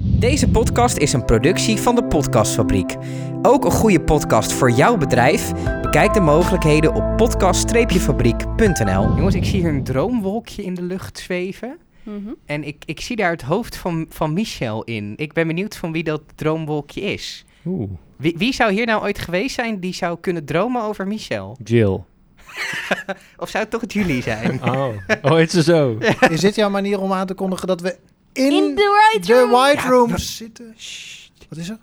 Deze podcast is een productie van de Podcastfabriek. Ook een goede podcast voor jouw bedrijf? Bekijk de mogelijkheden op podcast-fabriek.nl. Jongens, ik zie hier een droomwolkje in de lucht zweven. Mhm. En ik, ik zie daar het hoofd van, van Michel in. Ik ben benieuwd van wie dat droomwolkje is. Oeh. Wie, wie zou hier nou ooit geweest zijn die zou kunnen dromen over Michel? Jill. Of zou het toch het jullie zijn? Oh. Oh, heet ze zo. Is dit jouw manier om aan te kondigen dat we in, In de the right White room. Room zitten? Wat is er?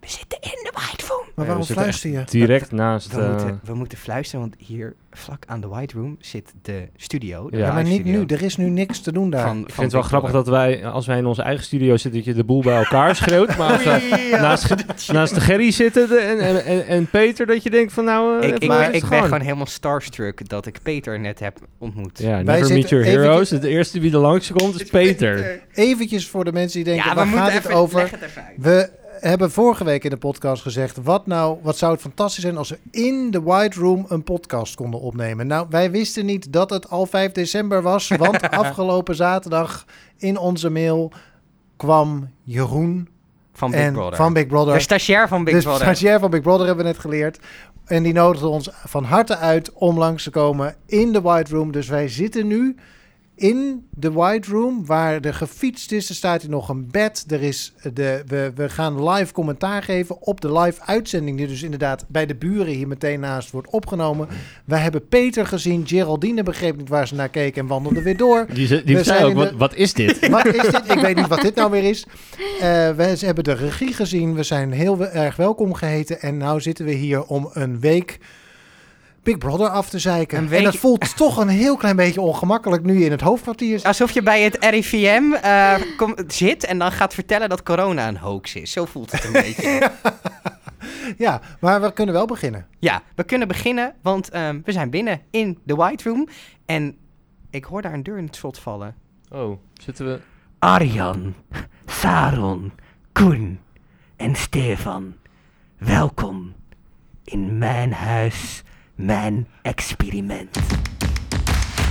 We zitten in de White Room. Maar Ja, we waarom zitten fluister je? Direct naast... We, eh, moeten, we moeten fluisteren, want hier vlak aan de White Room zit de studio. De Ja. Ja, maar live niet studio nu. Er is nu niks te doen daar. van- ik van vind het wel grappig Victor. dat wij, als wij in onze eigen studio zitten, dat je de boel bij elkaar schreeuwt. Maar als we naast, naast de Gerry zitten de- en, en, en, en Peter, dat je denkt van nou... eh, Ik, ik, even ik rustig ben aan. gewoon helemaal starstruck dat ik Peter net heb ontmoet. Ja, never Wij meet zitten your eventjes- heroes. Het eerste wie er langs komt is Peter. Eventjes voor de mensen die denken, Ja, waar gaat het over? leg het even uit. We hebben vorige week in de podcast gezegd, wat, nou, wat zou het fantastisch zijn als we in de White Room een podcast konden opnemen. Nou, wij wisten niet dat het al 5 december was, want afgelopen zaterdag in onze mail kwam Jeroen Van Big en Brother. van Big Brother. De stagiair van Big dus Brother. stagiair van Big Brother hebben we net geleerd. En die nodigde ons van harte uit om langs te komen in de White Room. Dus wij zitten nu in de White Room, waar er gefietst is. Er staat hier nog een bed. Er is de, we, we gaan live commentaar geven op de live uitzending... die dus inderdaad bij de buren hier meteen naast wordt opgenomen. Wij hebben Peter gezien. Geraldine begreep niet waar ze naar keek en wandelde weer door. Die, ze- We die zei zijn ook, in wat, de- wat is dit? Wat is dit? Ik weet niet wat dit nou weer is. Eh, we ze hebben de regie gezien. We zijn heel we- erg welkom geheten. En nou zitten we hier om een week Big Brother af te zeiken. Een week- En dat voelt toch een heel klein beetje ongemakkelijk nu je in het hoofdkwartier zit. Alsof je bij het RIVM eh, kom- zit en dan gaat vertellen dat corona een hoax is. Zo voelt het een beetje. Ja, maar we kunnen wel beginnen. Ja, we kunnen beginnen, want ehm, we zijn binnen in de White Room. En ik hoor daar een deur in het slot vallen. Oh, zitten we... Arjan, Saron, Koen en Stefan. Welkom in mijn huis, mijn experiment.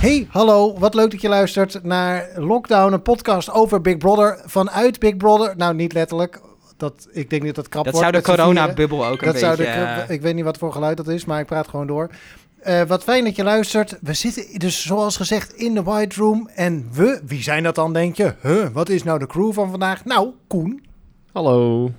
Hey, hallo. Wat leuk dat je luistert naar Lockdown, een podcast over Big Brother vanuit Big Brother. Nou, niet letterlijk. Dat, ik denk niet dat dat krap Dat wordt zou de met z'n vieren. coronabubbel ook een Dat beetje... eh, zou de, ik weet niet wat voor geluid dat is, maar ik praat gewoon door. Eh, wat fijn dat je luistert. We zitten dus zoals gezegd in de White Room. En we, wie zijn dat dan, denk je? Huh, wat is nou de crew van vandaag? Nou, Koen. Hallo.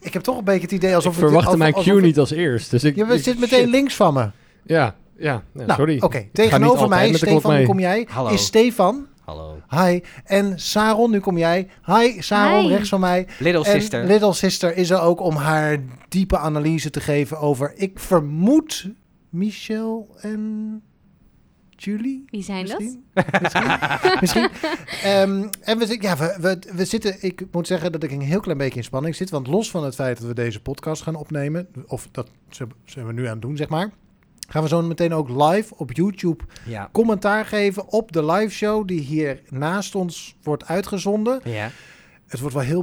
Ik heb toch een beetje het idee alsof... ik het- verwachtte alsof- mijn alsof cue het- niet als eerst. Dus ik, Je ik- zit meteen shit. links van me. Ja, ja, ja, nou, sorry. Oké, Ik ga niet tegenover altijd mij, met de klok Stefan, nu mee. kom jij. Hallo. Is Stefan. Hallo. Hi. En Saron, nu kom jij. Hi, Saron, Hi. rechts van mij. Little En Sister. Little Sister is er ook om haar diepe analyse te geven over, ik vermoed, Michel en Julie. Wie zijn dat? Misschien. Misschien. Misschien. Ehm, en we, zit- ja, we, we, we zitten, ik moet zeggen dat ik een heel klein beetje in spanning zit. Want los van het feit dat we deze podcast gaan opnemen, of dat ze- zijn we nu aan het doen, zeg maar. Gaan we zo meteen ook live op YouTube Ja. commentaar geven op de live show die hier naast ons wordt uitgezonden. ja. Het wordt wel heel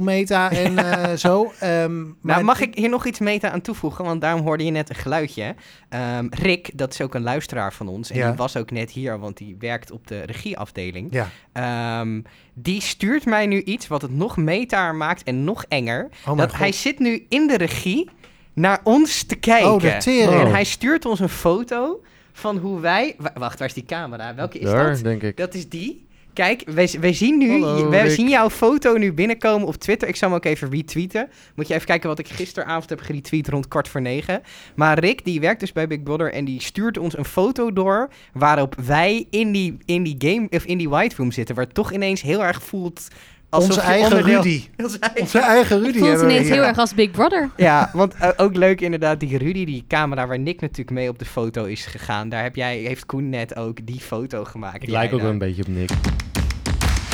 meta en eh, zo. ehm, Nou, mag ik hier nog iets meta aan toevoegen? Want daarom hoorde je net een geluidje. Ehm, Rick, dat is ook een luisteraar van ons. En Ja. die was ook net hier, want die werkt op de regieafdeling. Ja. Ehm, die stuurt mij nu iets wat het nog metaar maakt en nog enger. Oh, mijn dat hij zit nu in de regie naar ons te kijken. Oh, de tering. En hij stuurt ons een foto van hoe wij... Wa- Wacht, waar is die camera? Welke is Daar, dat? denk ik. Dat is die. Kijk, wij, z- wij zien nu Hallo, wij Rick. zien jouw foto nu binnenkomen op Twitter. Ik zal hem ook even retweeten. Moet je even kijken wat ik gisteravond heb geretweet rond kwart voor negen. Maar Rick, die werkt dus bij Big Brother en die stuurt ons een foto door... waarop wij in die, in die game, of in die white room zitten... waar het toch ineens heel erg voelt... alsof Onze je eigen onderdeel- Rudy. Onze eigen- Onze eigen Rudy Het voelt hebben we ineens hier. heel erg als Big Brother. Ja, want eh, ook leuk inderdaad, die Rudy, die camera waar Nick natuurlijk mee op de foto is gegaan. Daar heb jij, heeft Koen net ook die foto gemaakt. Ik die lijk hij ook wel daar- een beetje op Nick.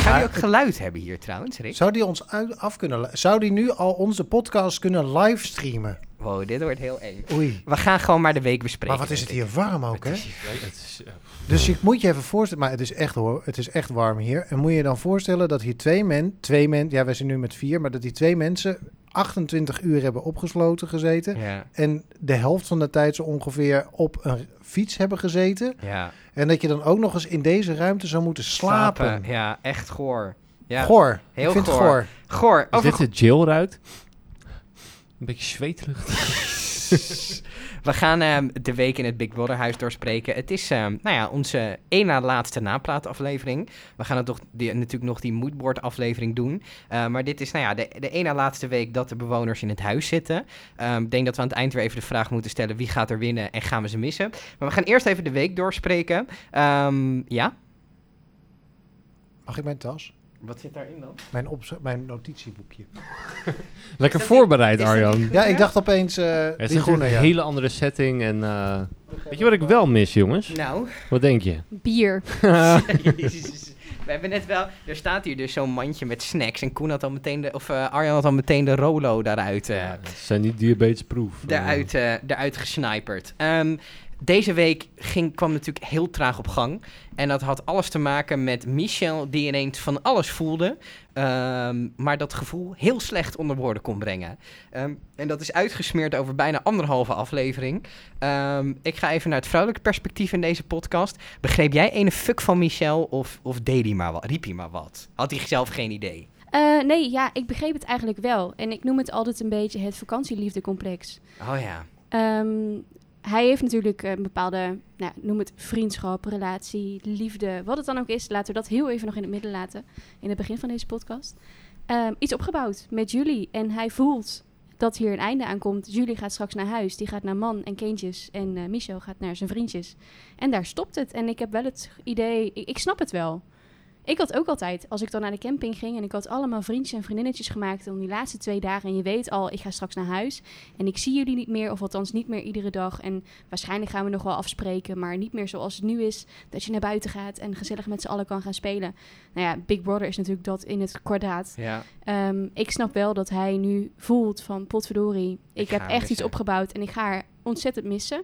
Zou die ook geluid hebben hier trouwens, Rick? Zou die ons uit- af kunnen... lu- Zou die nu al onze podcast kunnen livestreamen? Wow, dit wordt heel eng. Oei. We gaan gewoon maar de week bespreken. Maar wat is het denk ik. hier warm ook, hè? Het is, eh, Dus ik moet je even voorstellen... Maar het is echt hoor, het is echt warm hier. En moet je dan voorstellen dat hier twee mensen... Twee men, ja, wij zijn nu met vier, maar dat die twee mensen... 28 uur hebben opgesloten gezeten. Ja, En de helft van de tijd zo ongeveer op een fiets hebben gezeten. ja. En dat je dan ook nog eens in deze ruimte zou moeten slapen. Ja, echt goor. Ja. Goor. Heel ik vind goor. het goor. Goor. Als Over dit de Jill ruikt. Een beetje zweterig. We gaan ehm, de week in het Big Brother huis doorspreken. Het is ehm, nou ja, onze één na laatste napraataflevering. We gaan het toch die, natuurlijk nog die moodboard aflevering doen. Eh, maar dit is nou ja, de, de één na laatste week dat de bewoners in het huis zitten. Ehm, Ik denk dat we aan het eind weer even de vraag moeten stellen... wie gaat er winnen en gaan we ze missen? Maar we gaan eerst even de week doorspreken. Ehm, ja? Mag ik mijn tas? Wat zit daarin dan? Mijn, opz- mijn notitieboekje. Lekker voorbereid, is dat niet- Arjan. Ja, ik dacht opeens eh Het is die natuurlijk groene. een Ja. hele andere setting. En, eh, weet je wat ik wel mis, jongens? Nou, Wat denk je? Bier. jezus. We hebben net wel... Er staat hier dus zo'n mandje met snacks. En Koen had al meteen de... Of eh, Arjan had al meteen de Rolo daaruit... eh, Het zijn niet diabetesproof. daaruit, eh daaruit gesniperd. Ehm, deze week ging, kwam natuurlijk heel traag op gang. En dat had alles te maken met Michel, die ineens van alles voelde. ehm, maar dat gevoel heel slecht onder woorden kon brengen. Ehm, en dat is uitgesmeerd over bijna anderhalve aflevering. Ehm, ik ga even naar het vrouwelijke perspectief in deze podcast. Begreep jij ene fuck van Michel of, of deed hij maar wat? Riep hij maar wat? Had hij zelf geen idee? Eh, nee, ja, ik begreep het eigenlijk wel. En ik noem het altijd een beetje het vakantieliefdecomplex. Oh ja. Ehm, hij heeft natuurlijk een bepaalde, nou, noem het vriendschap, relatie, liefde, wat het dan ook is. Laten we dat heel even nog in het midden laten, in het begin van deze podcast. Ehm, iets opgebouwd met jullie. En hij voelt dat hier een einde aan komt. Julie gaat straks naar huis, die gaat naar man en kindjes. En eh, Michel gaat naar zijn vriendjes. En daar stopt het. En ik heb wel het idee, ik, ik snap het wel. Ik had ook altijd, als ik dan naar de camping ging en ik had allemaal vriendjes en vriendinnetjes gemaakt om die laatste twee dagen. En je weet al, ik ga straks naar huis. En ik zie jullie niet meer, of althans niet meer iedere dag. En waarschijnlijk gaan we nog wel afspreken, maar niet meer zoals het nu is. Dat je naar buiten gaat en gezellig met z'n allen kan gaan spelen. Nou ja, Big Brother is natuurlijk dat in het kwadraat. Ja. Ehm, ik snap wel dat hij nu voelt van potverdorie, ik, Ik heb ga echt haar iets missen. opgebouwd en ik ga haar ontzettend missen.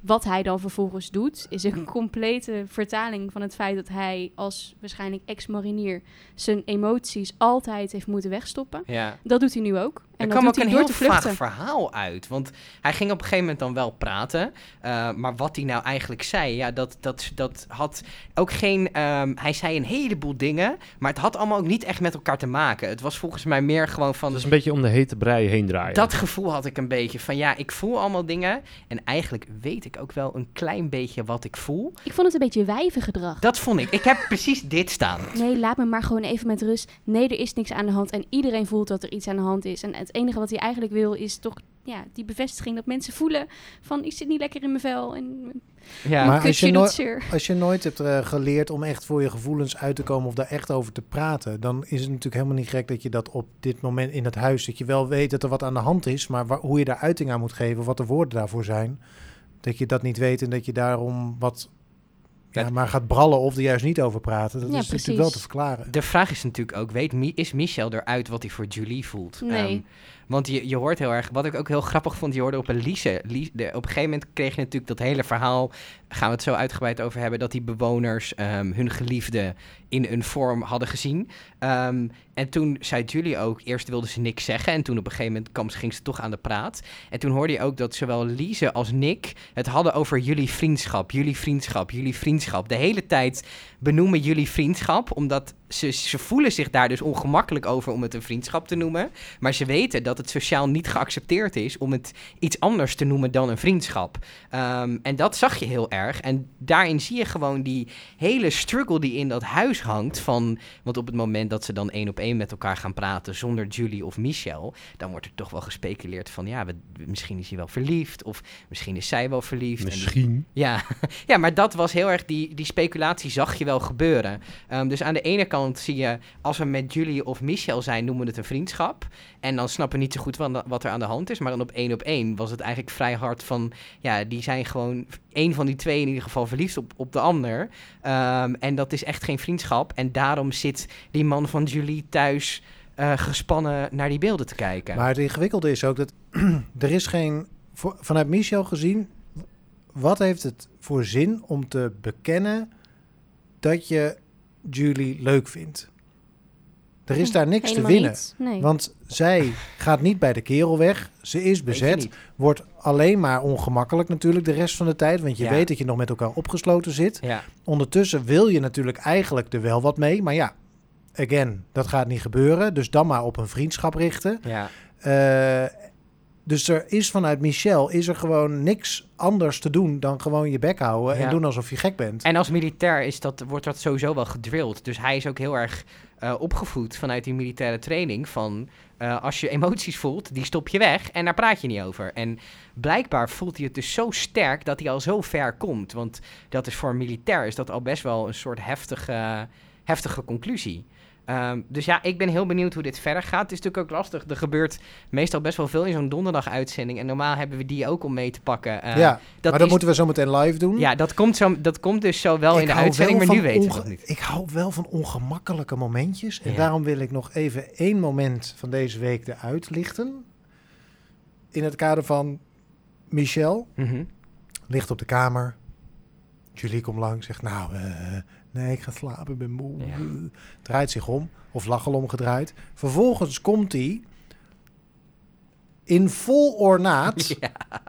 Wat hij dan vervolgens doet, is een complete vertaling van het feit dat hij als waarschijnlijk ex-marinier zijn emoties altijd heeft moeten wegstoppen. Ja. Dat doet hij nu ook. En Er dat kwam doet ook hij een door heel te vaag vluchten. verhaal uit. Want hij ging op een gegeven moment dan wel praten. eh, maar wat hij nou eigenlijk zei, ja, dat, dat, dat had ook geen. ehm, hij zei een heleboel dingen. Maar het had allemaal ook niet echt met elkaar te maken. Het was volgens mij meer gewoon van. Dat is een beetje om de hete brei heen draaien. Dat gevoel had ik een beetje van ja, ik voel allemaal dingen. En eigenlijk weet ik ook wel een klein beetje wat ik voel. Ik vond het een beetje wijvengedrag. Dat vond ik. Ik heb precies dit staan. Nee, laat me maar gewoon even met rust. Nee, er is niks aan de hand. En iedereen voelt dat er iets aan de hand is. En het enige wat hij eigenlijk wil is toch ja, die bevestiging dat mensen voelen van ik zit niet lekker in mijn vel en Ja. Maar- mijn als je kutje doet nooit- zeer. Als je nooit hebt eh, geleerd om echt voor je gevoelens uit te komen of daar echt over te praten, dan is het natuurlijk helemaal niet gek dat je dat op dit moment in het huis, dat je wel weet dat er wat aan de hand is, maar wa- hoe je daar uiting aan moet geven, wat de woorden daarvoor zijn, dat je dat niet weet en dat je daarom wat ja, Dat- maar gaat brallen of er juist niet over praten. Dat Ja, is natuurlijk wel precies. te verklaren. De vraag is natuurlijk ook, weet, Mi- is Michel eruit wat hij voor Julie voelt? Nee. Ehm, want je, je hoort heel erg, wat ik ook heel grappig vond, je hoorde op Elise. Lie- de- op een gegeven moment kreeg je natuurlijk dat hele verhaal, gaan we het zo uitgebreid over hebben, dat die bewoners ehm, hun geliefde in een vorm hadden gezien. Ehm, en toen zei Julie ook, eerst wilde ze niks zeggen en toen op een gegeven moment kwam, ze- ging ze toch aan de praat. En toen hoorde je ook dat zowel Lise als Nick het hadden over jullie vriendschap, jullie vriendschap, jullie vriendschap. De hele tijd benoemen jullie vriendschap, omdat ze, ze voelen zich daar dus ongemakkelijk over om het een vriendschap te noemen. Maar ze weten dat het sociaal niet geaccepteerd is om het iets anders te noemen dan een vriendschap. Ehm, en dat zag je heel erg. En daarin zie je gewoon die hele struggle die in dat huis hangt. Van, want op het moment dat ze dan één op één met elkaar gaan praten zonder Julie of Michel, dan wordt er toch wel gespeculeerd van ja, we- misschien is hij wel verliefd of misschien is zij wel verliefd. En die- Misschien. ja, ja maar dat was heel erg, die, die speculatie zag je wel gebeuren. Ehm, dus aan de ene kant zie je, als we met Julie of Michel zijn, noemen we het een vriendschap. En dan snappen we niet zo goed wan- wat er aan de hand is. Maar dan op één op één was het eigenlijk vrij hard van, ja, die zijn gewoon, één van die twee in ieder geval verliefd op, op de ander. Ehm, en dat is echt geen vriendschap. En daarom zit die man van Julie thuis eh, gespannen naar die beelden te kijken. Maar het ingewikkelde is ook dat er is geen, voor- vanuit Michel gezien, wat heeft het voor zin om te bekennen dat je Julie leuk vindt? Er Hm, is daar niks Helemaal te winnen. niet. Nee. Want zij gaat niet bij de kerel weg. Ze is Weet je bezet. niet. Wordt alleen maar ongemakkelijk natuurlijk de rest van de tijd. Want je Ja. weet dat je nog met elkaar opgesloten zit. Ja, Ondertussen wil je natuurlijk eigenlijk er wel wat mee. Maar ja, again, dat gaat niet gebeuren. Dus dan maar op een vriendschap richten. Ja. Eh, dus er is vanuit Michel is er gewoon niks anders te doen dan gewoon je bek houden Ja. en doen alsof je gek bent. En als militair is dat, wordt dat sowieso wel gedrilld. Dus hij is ook heel erg eh, opgevoed vanuit die militaire training. Van eh, als je emoties voelt, die stop je weg en daar praat je niet over. En blijkbaar voelt hij het dus zo sterk dat hij al zo ver komt. Want dat is voor een militair is dat al best wel een soort heftige, heftige conclusie. Ehm, dus ja, ik ben heel benieuwd hoe dit verder gaat. Het is natuurlijk ook lastig. Er gebeurt meestal best wel veel in zo'n donderdaguitzending. En normaal hebben we die ook om mee te pakken. Eh, ja, dat maar dat is- moeten we zo meteen live doen. ja, dat komt, zo, dat komt dus zo wel Mm. Ik in de hou uitzending, wel maar nu van weten we onge- dat niet. Ik hou wel van ongemakkelijke momentjes. En Ja. daarom wil ik nog even één moment van deze week eruit lichten. In het kader van Michel Mhm. ligt op de kamer. Julie komt lang, zegt nou, eh, nee, ik ga slapen, ik ben moe. Ja. Draait zich om, of lachel omgedraaid. Vervolgens komt hij in vol ornaat,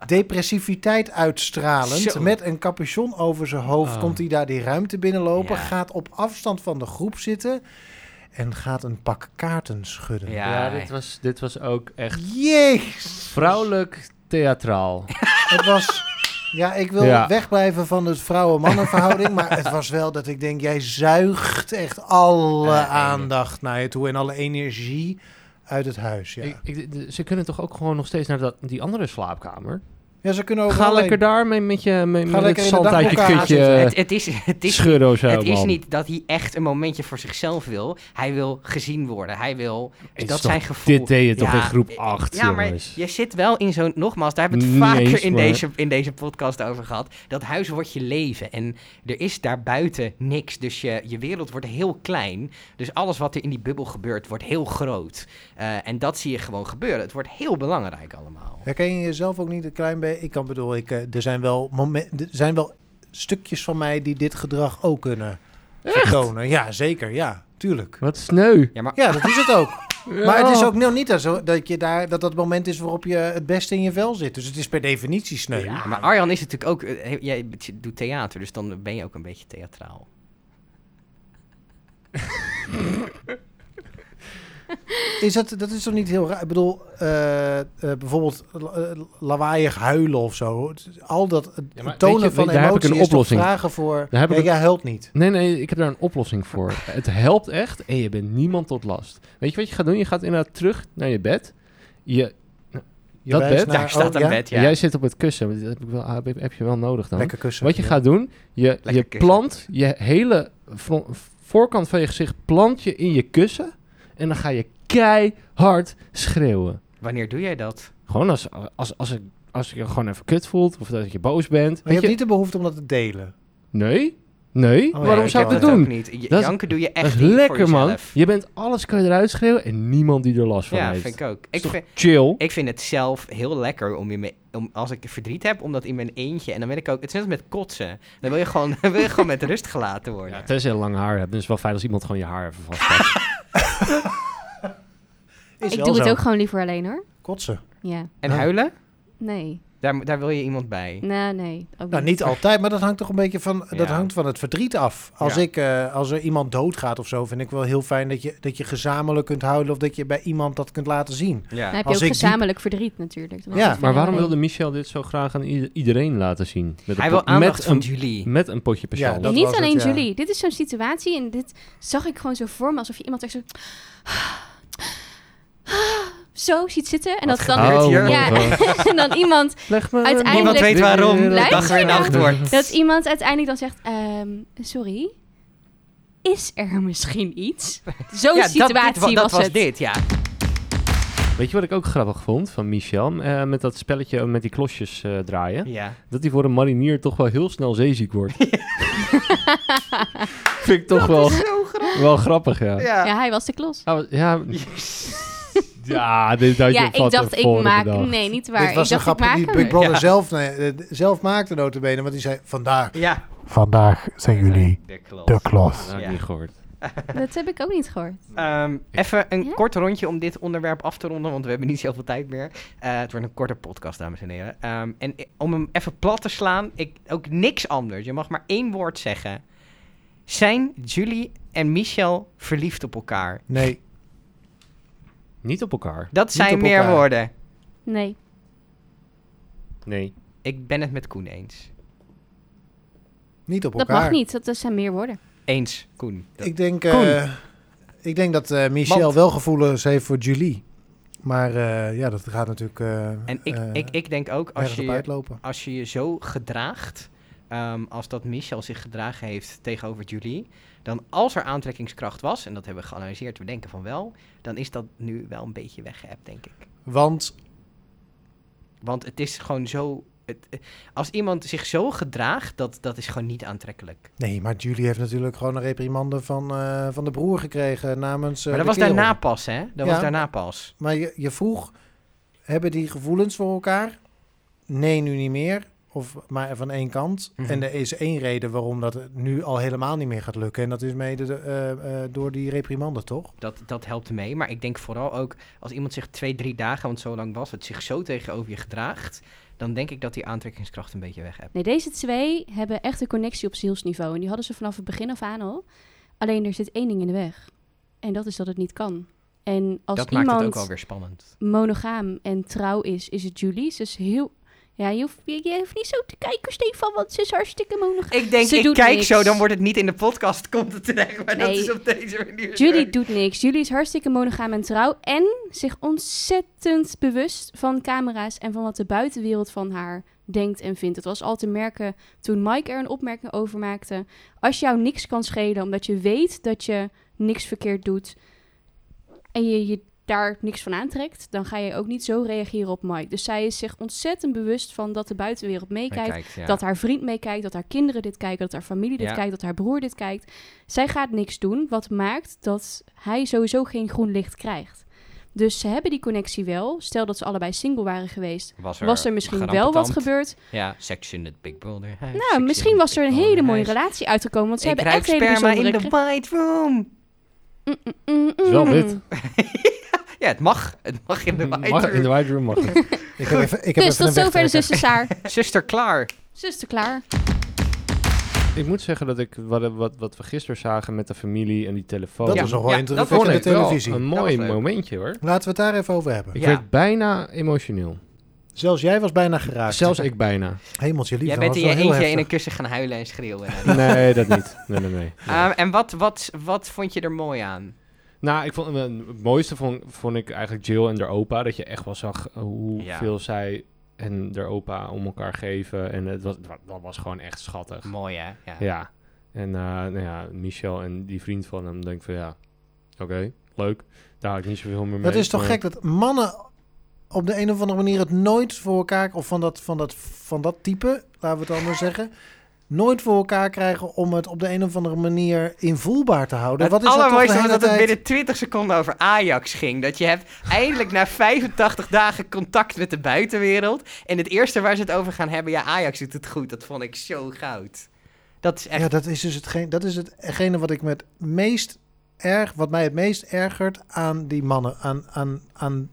depressiviteit uitstralend, Zo. met een capuchon over zijn hoofd, Oh. komt hij daar die ruimte binnenlopen, Ja. gaat op afstand van de groep zitten en gaat een pak kaarten schudden. Ja. Ja, dit was, dit was ook echt Jezus! vrouwelijk theatraal. Het was. Ja, ik wil Ja. wegblijven van het vrouwen-mannen verhouding. maar het was wel dat ik denk, jij zuigt echt alle Eh, aandacht naar je toe en alle energie uit het huis. Ja, Ik, ik- de- ze kunnen toch ook gewoon nog steeds naar dat, die andere slaapkamer? ja ze kunnen ook. Ga lekker daar mee met je, mee, met het lekker in de zand uit je dagboek aan kutje zitten. het, het is, het is, schudden of zo, het is man. niet dat hij echt een momentje voor zichzelf wil. Hij wil gezien worden. Hij wil, Dit dat is toch- zijn gevoel. Dit deed je toch Ja. in groep 8, Ja, maar jongens. je zit wel in zo'n... Nogmaals, daar hebben we het Niet vaker eens, in, maar- deze, in deze podcast over gehad. Dat huis wordt je leven. En er is daarbuiten niks. Dus je, je wereld wordt heel klein. Dus alles wat er in die bubbel gebeurt, wordt heel groot. Eh, en dat zie je gewoon gebeuren. Het wordt heel belangrijk allemaal. Herken je jezelf ook niet een klein beetje? Ik kan bedoel, ik, eh, er, zijn wel momen- er zijn wel stukjes van mij die dit gedrag ook kunnen vertonen. Ja, zeker. Ja, tuurlijk. Wat sneu. Ja, maar Ja, dat is het ook. Maar het is Ja. ook nog niet dat, zo, dat, je daar, dat dat het moment is waarop je het beste in je vel zit. Dus het is per definitie sneu. Ja, maar Arjan is natuurlijk ook... eh, he- jij bet- doet theater, dus dan ben je ook een beetje theatraal. Is dat, dat is toch niet heel raar? Ik bedoel, eh, eh, bijvoorbeeld eh, lawaaiig huilen of zo. Het- Al dat het Ja, maar tonen weet je, van daar heb ik emotie een is toch oplossing. vragen voor... Daar heb ik nee, een- jij huilt niet. Nee, nee, ik heb daar een oplossing voor. Het helpt echt en je bent niemand tot last. Weet je wat je gaat doen? Je gaat inderdaad terug naar je bed. Je, Je Dat wijst bed? naar- Daar staat oh, aan ja? bed, ja. Jij zit op het kussen. maar Dat heb, ik wel, heb, heb je wel nodig dan. Lekker kussen. Wat je Ja. gaat doen, je, je kussen. plant je hele vo- voorkant van je gezicht plant je in je kussen. En dan ga je keihard schreeuwen. Wanneer doe jij dat? Gewoon als, als, als, ik, als je gewoon even kut voelt of dat je boos bent. Maar je Weet hebt je, niet de behoefte om dat te delen. Nee, nee, Oh, waarom ja, zou ik kan doe dat doen? ook niet. J- Dat is- Janken doe je echt dat is niet voor lekker, man. jezelf. Je bent alles kan je eruit schreeuwen en niemand die er last van Ja, heeft. vind ik ook. Is Ik toch vind, chill. ik vind het zelf heel lekker om, in mijn, om als ik verdriet heb, om dat in mijn eentje. En dan ben ik ook... Het is net als met kotsen. Dan wil je gewoon, dan wil je gewoon met rust gelaten worden. Ja, tenzij je lang haar hebt, dan is het wel fijn als iemand gewoon je haar even vastpakt. Is ik wel doe het zo. ook gewoon liever alleen hoor. Kotsen. Ja, En Ja. huilen? nee. Daar, daar wil je iemand bij. Nou, nee. Ook Nou, niet altijd, maar dat hangt toch een beetje van, dat Ja. hangt van het verdriet af. Als, Ja. ik, eh, als er iemand doodgaat of zo, vind ik wel heel fijn dat je, dat je gezamenlijk kunt houden of dat je bij iemand dat kunt laten zien. Ja. Dan heb je Als ook ik die- gezamenlijk verdriet natuurlijk. Dan is Ja. het maar van, waarom nee. wilde Michel dit zo graag aan ieder- iedereen laten zien? Met een Hij po- wil aandacht met van een, jullie. Met een potje persoon. Ja, Ja, dat niet was het, alleen ja. Julie. Dit is zo'n situatie en dit zag ik gewoon zo voor me alsof je iemand echt zo... Zo ziet zitten en Wat dat dan, gebeurt oh, hier? my Ja. God. en dan iemand Leg me Uiteindelijk- Niemand weet waarom. Blijf Dag weer je nou? nacht wordt. Dat iemand uiteindelijk dan zegt, ehm, sorry, is er misschien iets? Zo'n Ja, dat, situatie dit wa- dat was, was het. dit, ja. Weet je wat ik ook grappig vond van Michel? Eh, met dat spelletje met die klosjes eh, draaien. ja. Dat hij voor een marinier toch wel heel snel zeeziek wordt. Vind ik toch wel, wel grappig, ja. Ja, Ja, hij was de klos. Ah, wat- ja. ja dit had je Ja, van ik dacht, ik tevoren maak... bedacht. Nee, niet waar. Dit was ik een grap dacht, ik maak die hem. Big Brother Ja. zelf, nee, eh, zelf maakte, notabene. Want die zei, vandaag Ja. Vandaag zijn jullie De klopt. de klos. Dat had ik Ja. niet gehoord. Dat heb ik ook niet gehoord. Ehm, even een Ja? kort rondje om dit onderwerp af te ronden, want we hebben niet zoveel tijd meer. Eh, het wordt een korte podcast, dames en heren. Ehm, en i- om hem even plat te slaan, ik, ook niks anders. Je mag maar één woord zeggen. Zijn Julie en Michel verliefd op elkaar? Nee. Niet op elkaar. Dat zijn op meer elkaar. woorden. Nee. Nee. Ik ben het met Koen eens. Niet op Dat elkaar. mag niet. Dat, dat zijn meer woorden. Eens, Koen. Dat- Ik denk, Koen. eh, ik denk dat eh, Michel Want- wel gevoelens heeft voor Julie. Maar eh, ja, dat gaat natuurlijk. eh, en ik, eh, ik, ik denk ook, als ergens je, op je- uitlopen. als je je zo gedraagt, ehm, als dat Michel zich gedragen heeft tegenover Julie, dan als er aantrekkingskracht was, en dat hebben we geanalyseerd, we denken van wel, dan is dat nu wel een beetje weggeëpt, denk ik. Want Want het is gewoon zo. Het, eh, als iemand zich zo gedraagt, dat, dat is gewoon niet aantrekkelijk. nee, maar Julie heeft natuurlijk gewoon een reprimande van, eh, van de broer gekregen namens. eh, maar dat de was daarna kerel. pas, hè? Dat Ja. was daarna pas. Maar je, je vroeg, hebben die gevoelens voor elkaar? Nee, nu niet meer. Of maar van één kant. Mhm. En er is één reden waarom dat nu al helemaal niet meer gaat lukken. En dat is mede de- eh, eh, door die reprimande, toch? Dat, dat helpt mee. Maar ik denk vooral ook als iemand zich twee, drie dagen, want zo lang was het, zich zo tegenover je gedraagt. Dan denk ik dat die aantrekkingskracht een beetje weg hebt. Nee, deze twee hebben echt een connectie op zielsniveau. En die hadden ze vanaf het begin af aan al. Alleen er zit één ding in de weg. En dat is dat het niet kan. En als dat iemand maakt het ook wel weer spannend. monogaam en trouw is, is het Julie. Ze is heel... Ja, je hoeft, je, je hoeft niet zo te kijken, Stefan, want ze is hartstikke monogaam. Ik denk, Ze ik doet kijk niks. zo, dan wordt het niet in de podcast, komt het terecht. Maar dat Nee. is op deze manier. Julie doet niks. Julie is hartstikke monogaam en trouw. En zich ontzettend bewust van camera's en van wat de buitenwereld van haar denkt en vindt. Het was al te merken toen Mike er een opmerking over maakte. Als jou niks kan schelen, omdat je weet dat je niks verkeerd doet. en je je daar niks van aantrekt. dan ga je ook niet zo reageren op Mike. Dus zij is zich ontzettend bewust van dat de buitenwereld meekijkt. Dat haar vriend meekijkt, dat haar kinderen dit kijken, dat haar familie dit Ja. kijkt, dat haar broer dit kijkt. Zij gaat niks doen, wat maakt dat hij sowieso geen groen licht krijgt. Dus ze hebben die connectie wel. Stel dat ze allebei single waren geweest, was was er misschien wel wat gebeurd. Ja, Sex in het Big Brother. Nou, misschien was er een hele mooie relatie uitgekomen, want ze Ik hebben ruik echt hele sperma in bijzondere... de white room. Mm, mm, mm, is wel mm. wit. Ja, het mag. Het mag in de white Mm, Mag- room. in de wide room mag. Ik heb even, ik heb even Dus tot een zover de wegtrekker. zussen Saar. Zuster klaar. Zuster klaar. ik moet zeggen dat ik wat, wat, wat we gisteren zagen met de familie en die telefoon. Dat Ja. is nog wel dat indrukwekkend vond in de ik televisie. wel een Dat mooi was leuk. momentje hoor. Laten we het daar even over hebben. Ik Ja. werd bijna emotioneel. Zelfs jij was bijna geraakt. Zelfs ik bijna. Hemeltje lief. Jij dat bent was in je wel heel eentje in een heftig. kussen gaan huilen en schreeuwen. Nee, dat niet. Nee, nee, nee. Nee. Ehm, en wat, wat, wat vond je er mooi aan? Nou, ik vond, het mooiste vond, vond ik eigenlijk Jill en haar opa. Dat je echt wel zag eh, Ja. hoeveel zij en haar opa om elkaar geven. En het was, dat was gewoon echt schattig. Mooi, hè? Ja. Ja. En eh, nou ja, Michel en die vriend van hem denk ik van ja, oké, leuk. Daar had ik niet zoveel meer mee. Dat is toch maar- gek dat mannen op de een of andere manier het nooit voor elkaar... of van dat, van dat, van dat type, laten we het anders zeggen... nooit voor elkaar krijgen om het op de een of andere manier invoelbaar te houden. Het Wat is dat toch de allermooiste was hele dat het tijd- binnen 20 seconden over Ajax ging. Dat je hebt eindelijk na 85 dagen contact met de buitenwereld. En het eerste waar ze het over gaan hebben, ja, Ajax doet het goed. Dat vond ik zo goud. Dat is echt... Ja, dat is dus hetgeen, dat is hetgene wat ik met meest erg, wat mij het meest ergert aan die mannen, aan, aan, aan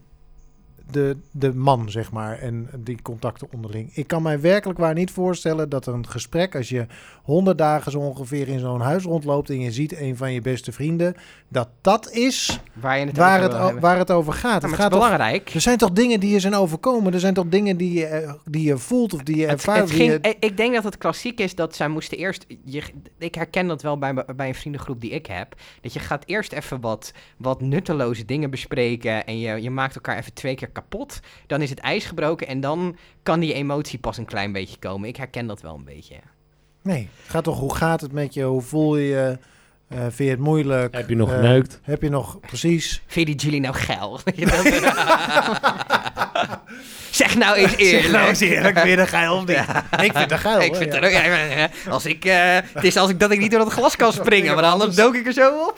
de, de man, zeg maar, en die contacten onderling. Ik kan mij werkelijk waar niet voorstellen dat een gesprek, als je honderd dagen zo ongeveer in zo'n huis rondloopt en je ziet een van je beste vrienden, dat dat is waar je het waar over het, wil o- hebben. waar het over gaat. Ja, maar het het gaat is toch- belangrijk. er zijn toch dingen die je zijn overkomen? Er zijn toch dingen die je, eh, die je voelt of die je Het- ervaart? het of die ging- je- ik- Ik denk dat het klassiek is dat zij moesten eerst. Je, ik herken dat wel bij, bij een vriendengroep die ik heb. Dat je gaat eerst even wat, wat nutteloze dingen bespreken. En je, je maakt elkaar even twee keer kapot. Dan is het ijs gebroken. En dan kan die emotie pas een klein beetje komen. Ik herken dat wel een beetje. Nee, het gaat toch hoe gaat het met je? Hoe voel je je? Eh, vind je het moeilijk? Heb je nog Eh, geneukt? Heb je nog, precies. Vind je die Julie nou geil? zeg nou eens eerlijk. weer een geil of Ik vind het geil. Ik hoor, vind ja. dat ook- ja, ja, ja. als ik, eh, het is als ik dat ik niet door dat glas kan springen, maar anders dook ik er zo op.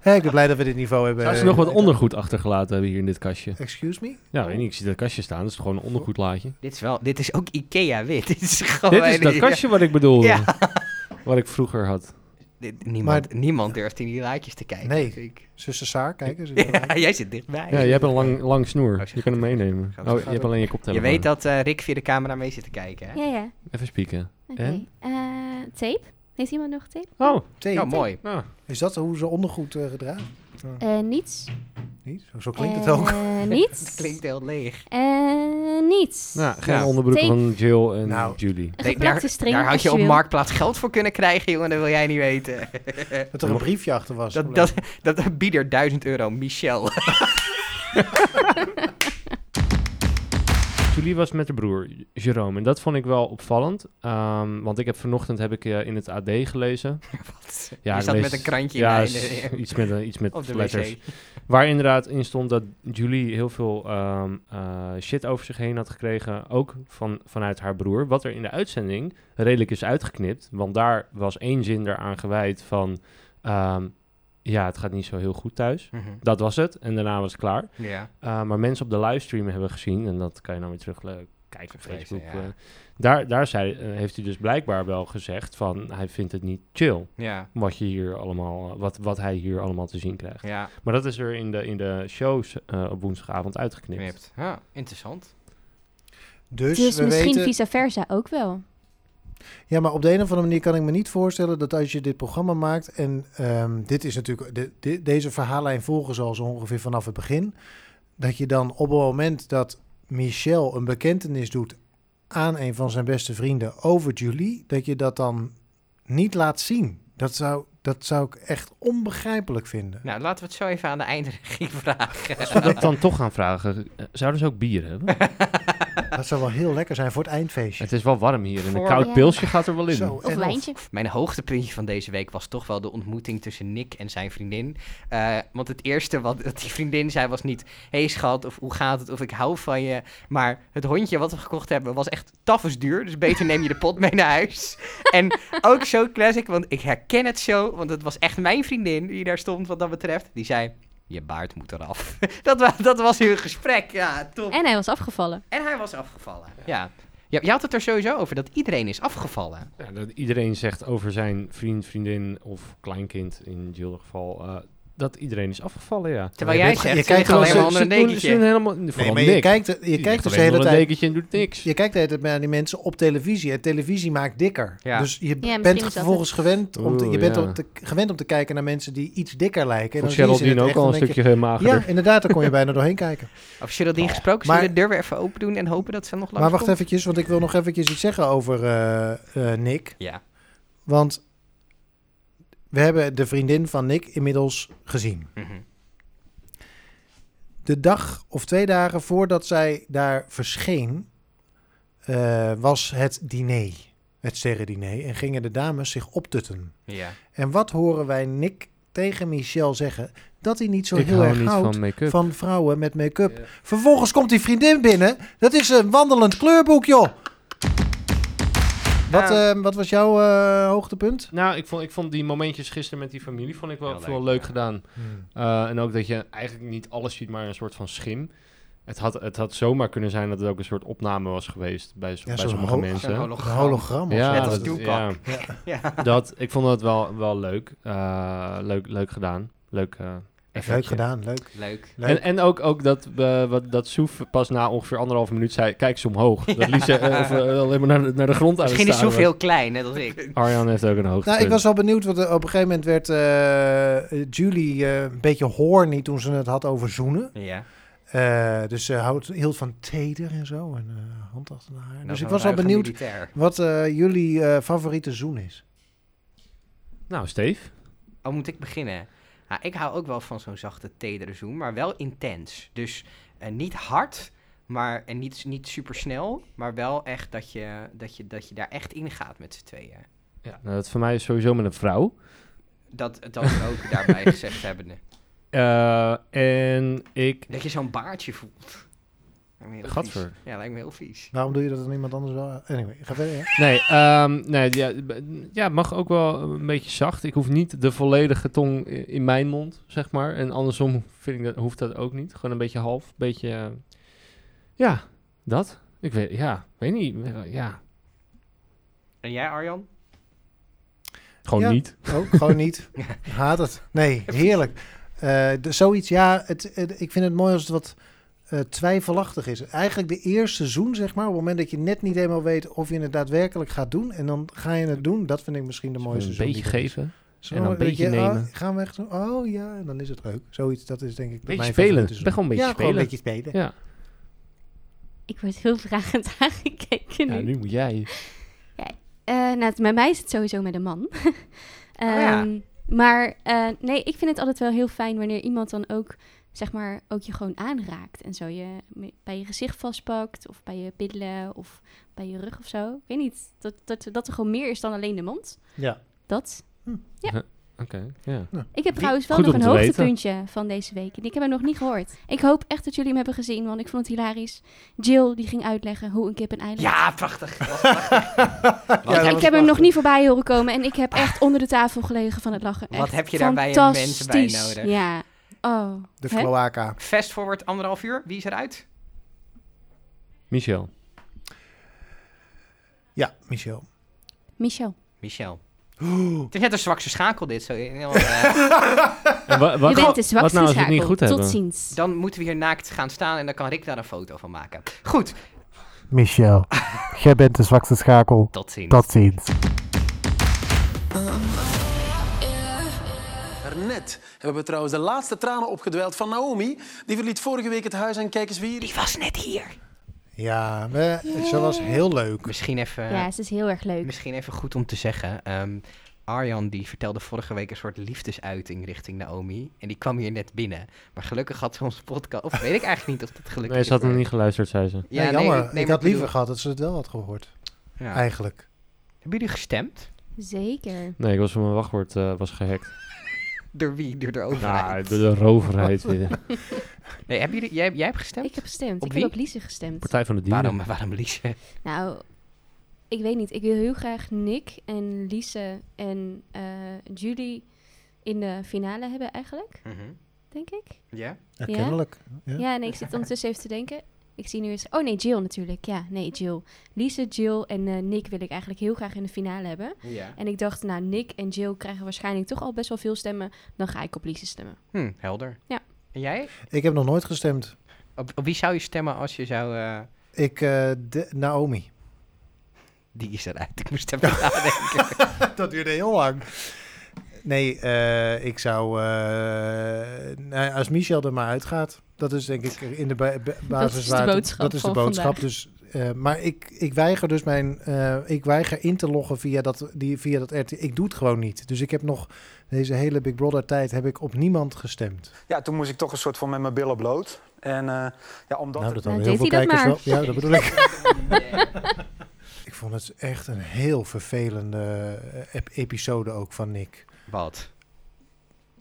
Hé, ik ben blij dat we dit niveau hebben. eh, Zou ze nog wat ondergoed achtergelaten hebben hier in dit kastje? Excuse me? Ja, weet niet, ik zie dat kastje staan. Dat is gewoon een ondergoedlaadje. Oh, Dit is wel, dit is ook Ikea wit. Dit is gewoon. Dit is dat kastje wat ik bedoelde. Ja. Wat ik vroeger had. Dit- niemand, niemand durft in die laadjes te kijken. Nee. denk ik. Zuster Saar, kijk eens. Ja, jij zit dichtbij. Ja, je hebt een lang, lang snoer. Oh, shit. je kan hem meenemen. Gaat- Oh, je gaat hebt ook. alleen je je koptelefoon. weet dat eh, Rick via de camera mee zit te kijken. Hè? Ja, ja. Even spieken. Oké. En? Eh, tape? Heeft iemand nog thee? Oh, Thee. Nou, mooi. nou. Is dat hoe ze ondergoed eh, gedragen? Eh, niets. Niet? Zo, zo klinkt het Eh, ook. Het niets. klinkt heel leeg. Eh, niets. Nou, geen Ja. onderbroek Take- van Jill en Nou. Julie. Een Nee, daar, geplakte string. daar had als je op wil. Marktplaats geld voor kunnen krijgen, jongen. Dat wil jij niet weten. Dat er een briefje achter was. Dat, dat, dat, dat bieder 1000 euro, Michel. Julie was met haar broer, J- Jerome. En dat vond ik wel opvallend. ehm, want ik heb vanochtend heb ik, eh, in het AD gelezen. Wat? Ja, je ik zat lees- met een krantje ja, in de- s- in de- iets met, een- iets op met de letters. wc. Waar inderdaad in stond dat Julie heel veel ehm, eh, shit over zich heen had gekregen. Ook van, vanuit haar broer. Wat er in de uitzending redelijk is uitgeknipt. Want daar was één zin eraan gewijd van... ehm, ja, het gaat niet zo heel goed thuis. Mhm. Dat was het. En daarna was het klaar. Ja. Uh, maar mensen op de livestream hebben gezien, en dat kan je dan weer terug eh, kijken op Teruglezen, Facebook. ja. eh, daar daar zei, eh, heeft hij dus blijkbaar wel gezegd van hij vindt het niet chill. Ja. Wat, je hier allemaal, eh, wat, wat hij hier allemaal te zien krijgt. Ja. Maar dat is er in de, in de shows eh, op woensdagavond uitgeknipt. Knipt. Ja, interessant. Dus, Dus we misschien weten... vice versa ook wel. Ja, maar op de een of andere manier kan ik me niet voorstellen dat als je dit programma maakt. En ehm, dit is natuurlijk. De, de- deze verhaallijn volgen ze al zo ongeveer vanaf het begin. Dat je dan op het moment dat Michel een bekentenis doet aan een van zijn beste vrienden over Julie, dat je dat dan niet laat zien. Dat zou, dat zou ik echt onbegrijpelijk vinden. Nou, laten we het zo even aan de eindregie vragen. Als we dat dan toch gaan vragen, eh, zouden ze ook bier hebben? Dat zou wel heel lekker zijn voor het eindfeestje. het is wel warm hier en een Voor- koud Ja. pilsje gaat er wel in. Zo, Of en wijntje. Mijn hoogtepuntje van deze week was toch wel de ontmoeting tussen Nick en zijn vriendin. Eh, want het eerste wat dat die vriendin zei was niet... hey schat, of hoe gaat het, of ik hou van je. Maar het hondje wat we gekocht hebben was echt tafels duur. Dus beter neem je de pot mee naar huis. en ook zo classic, want ik herken het zo. Want het was echt mijn vriendin die daar stond wat dat betreft. Die zei... Je baard moet eraf. dat, wa- dat was hun gesprek. Ja, top. En hij was afgevallen. En hij was afgevallen. Ja. ja. Je had het er sowieso over dat iedereen is afgevallen. Ja, dat iedereen zegt over zijn vriend, vriendin of kleinkind in Jill geval... eh, dat iedereen is afgevallen, ja. Terwijl je jij bent- zegt, je je kijkt ligt alleen maar onder een Ze doen- ze doen dekentje. helemaal, Nee, vooral maar je Nick. kijkt, je Die kijkt ligt dus de alleen hele onder een tijd dekentje en doet niks. Je kijkt de hele tijd naar die mensen op televisie. En televisie maakt dikker. Ja. Dus je misschien is bent dat vervolgens gewend om, te, je Oeh, bent ja. om te, gewend om te kijken naar mensen die iets dikker lijken. Vond zien ze het Geraldine ook echt al een en denk je, stukje magerder. Ja, inderdaad, daar kon je bijna doorheen kijken. Of Geraldine gesproken, Oh, Maar- zullen we de deur weer even open doen en hopen dat ze nog langs Maar wacht komt? eventjes, want ik wil nog eventjes iets zeggen over eh, eh, Nick. Ja. Want we hebben de vriendin van Nick inmiddels gezien. Mhm. De dag of twee dagen voordat zij daar verscheen, eh, was het diner. Het sterrendiner. En gingen de dames zich optutten. Ja. En wat horen wij Nick tegen Michel zeggen? Dat hij niet zo ik heel hou erg niet houdt van van, make-up. vrouwen met make-up. Ja. Vervolgens komt die vriendin binnen. Dat is een wandelend kleurboek, joh. Wat, Ja. eh, wat was jouw eh, hoogtepunt? Nou, ik vond, ik vond die momentjes gisteren met die familie vond ik wel Heel veel leuk, leuk ja. gedaan. Eh, en ook dat je eigenlijk niet alles ziet, maar een soort van schim. Het had, het had zomaar kunnen zijn dat het ook een soort opname was geweest bij, zo- Ja, bij zo'n sommige ho- mensen. Zo'n Een hologram. hologram of zo. Net als dat- Tupac. Ja. dat, ik vond dat wel, wel leuk. Eh, leuk. Leuk gedaan. Leuk, eh, Leuk effectje. gedaan, leuk. Leuk. leuk. En, en ook, ook dat, eh, wat, dat Soef pas na ongeveer anderhalf minuut zei: Kijk eens omhoog. Dat liet ze eh, even, eh, alleen maar naar de, naar de grond aan Misschien het is staan Soef heel klein, net als ik. was. Arjan heeft ook een hoogte. nou, ik was wel benieuwd, want eh, op een gegeven moment werd eh, Julie eh, een beetje horny toen ze het had over zoenen. Ja. Eh, dus ze houdt, hield van teder en zo, en eh, hand achter haar. Nou, dus ik zo'n was wel ruige benieuwd militair. Wat eh, jullie eh, favoriete zoen is? Nou, Steve. Oh, moet ik beginnen? Ja, ik hou ook wel van zo'n zachte, tedere zoen, maar wel intens. Dus eh, niet hard, maar, en niet, niet super snel, maar wel echt dat je, dat, je, dat je daar echt in gaat met z'n tweeën. Ja. Nou, dat voor mij is sowieso met een vrouw. Dat, dat we ook daarbij gezegd hebben. Eh, en ik. Dat je zo'n baardje voelt. Lijkt me heel Gadver. vies. Ja, lijkt me heel vies. Waarom doe je dat dan iemand anders wel? Anyway, ga verder. ja. Nee, ehm, nee ja, b- ja, mag ook wel een beetje zacht. Ik hoef niet de volledige tong i- in mijn mond, zeg maar. En andersom vind ik dat, hoeft dat ook niet. Gewoon een beetje half, een beetje. eh, ja, dat. Ik weet, ja, weet niet. eh, Ja, En jij, Arjan? gewoon Ja. niet. Ook Oh, gewoon niet. Haat het. Nee, heerlijk. Eh, de, zoiets, ja, het, het- ik vind het mooi als het wat eh, twijfelachtig is. Eigenlijk de eerste seizoen, zeg maar, op het moment dat je net niet helemaal weet of je het daadwerkelijk gaat doen. En dan ga je het doen. Dat vind ik misschien de mooiste een seizoen. beetje die er is. geven. Zo, en dan een weet beetje oh, nemen. gaan we echt doen? Oh ja, en dan is het leuk. Zoiets, dat is denk ik Beetje mijn spelen. favoriete Ik ben gewoon een seizoen. beetje ja, gewoon een spelen. beetje spelen. Ja. Ik word heel vragend aangekeken nu. ja, nu moet jij. Eh, nou, het- bij mij is het sowieso met een man. ja. Ehm, Maar eh, nee, ik vind het altijd wel heel fijn wanneer iemand dan ook, zeg maar, ook je gewoon aanraakt. En zo je me- bij je gezicht vastpakt, of bij je billen, of bij je rug of zo. Ik weet niet, dat, dat, dat er gewoon meer is dan alleen de mond. Ja. Dat. Oké, ja. Ik heb Wie- trouwens wel Goed nog om een te weten. hoogtepuntje van deze week. En ik heb hem nog niet gehoord. Ik hoop echt dat jullie hem hebben gezien, want ik vond het hilarisch. Jill, die ging uitleggen hoe een kip een ei legt. Ja, prachtig. Dat was prachtig. Ja, dat ik was heb hem nog prachtig. niet voorbij horen komen en ik heb echt onder de tafel gelegen van het lachen. Wat Echt heb je daarbij een mens bij fantastisch. nodig? Ja. Oh. De Hè? cloaca. Fast forward anderhalf uur. Wie is eruit? Michel. Ja, Michel. Michel. Michel. Het is net een zwakste schakel dit. Zo. heel, eh, En wa- wat, je bent de zwakste wat nou als we het schakel. niet goed Tot hebben? ziens. dan moeten we hier naakt gaan staan en dan kan Rick daar een foto van maken. Goed, Michel, jij bent de zwakste schakel. tot ziens. Tot ziens. Daarnet hebben we trouwens de laatste tranen opgedweld van Naomi. Die verliet vorige week het huis en kijk eens wie hier is. Die was net hier. Ja, we, ze was heel leuk. Misschien even... Ja, ze is heel erg leuk. Misschien even goed om te zeggen. ehm, Arjan die vertelde vorige week een soort liefdesuiting richting Naomi. En die kwam hier net binnen. Maar gelukkig had ze onze podcast... Of weet ik eigenlijk niet of dat gelukkig Nee, is. ze had hem maar- niet geluisterd, zei ze. Ja, nee, jammer. nee, maar ik had liever bedoel- gehad dat ze het wel had gehoord. Ja. Eigenlijk. Hebben jullie gestemd? Zeker. Nee, ik was van mijn wachtwoord eh, was gehackt. Door wie? Door de overheid? Nou, de, de roverheid weer. Nee, hebben jullie, jij, jij hebt gestemd? Ik heb gestemd. Op ik wie? heb op Lise gestemd. Partij van de Dieren. Waarom, waarom Liesje? Nou, ik weet niet. Ik wil heel graag Nick en Lise en eh, Julie in de finale hebben eigenlijk, denk ik. Mhm. Ja? Ja, Ja? kennelijk. Ja. Ja, nee, ik zit ondertussen even te denken. Ik zie nu eens... Oh nee, Jill natuurlijk. Ja, nee, Jill. Lise, Jill en eh, Nick wil ik eigenlijk heel graag in de finale hebben. Ja. En ik dacht, nou, Nick en Jill krijgen waarschijnlijk toch al best wel veel stemmen. Dan ga ik op Lise stemmen. Hm, helder. Ja. En jij? Ik heb nog nooit gestemd. Op, op wie zou je stemmen als je zou... eh, Ik, eh, de, Naomi. Die is eruit. Ik moest even nadenken. dat duurde heel lang. Nee, eh, ik zou... eh, nou, als Michel er maar uitgaat. Dat is denk ik in de ba- ba- basis is de waar... het- boodschap dat is de van boodschap. Dus, eh, maar ik, ik weiger dus mijn... eh, ik weiger in te loggen via dat, die, via dat RT. Ik doe het gewoon niet. Dus ik heb nog... Deze hele Big Brother tijd heb ik op niemand gestemd. Ja, toen moest ik toch een soort van met mijn billen bloot. En eh, ja, omdat Nou, het- dat hadden Nou, heel veel deed hij dat kijkers wel. maar. Ja, dat bedoel ik. ik vond het echt een heel vervelende eh, ep- episode ook van Nick. Wat?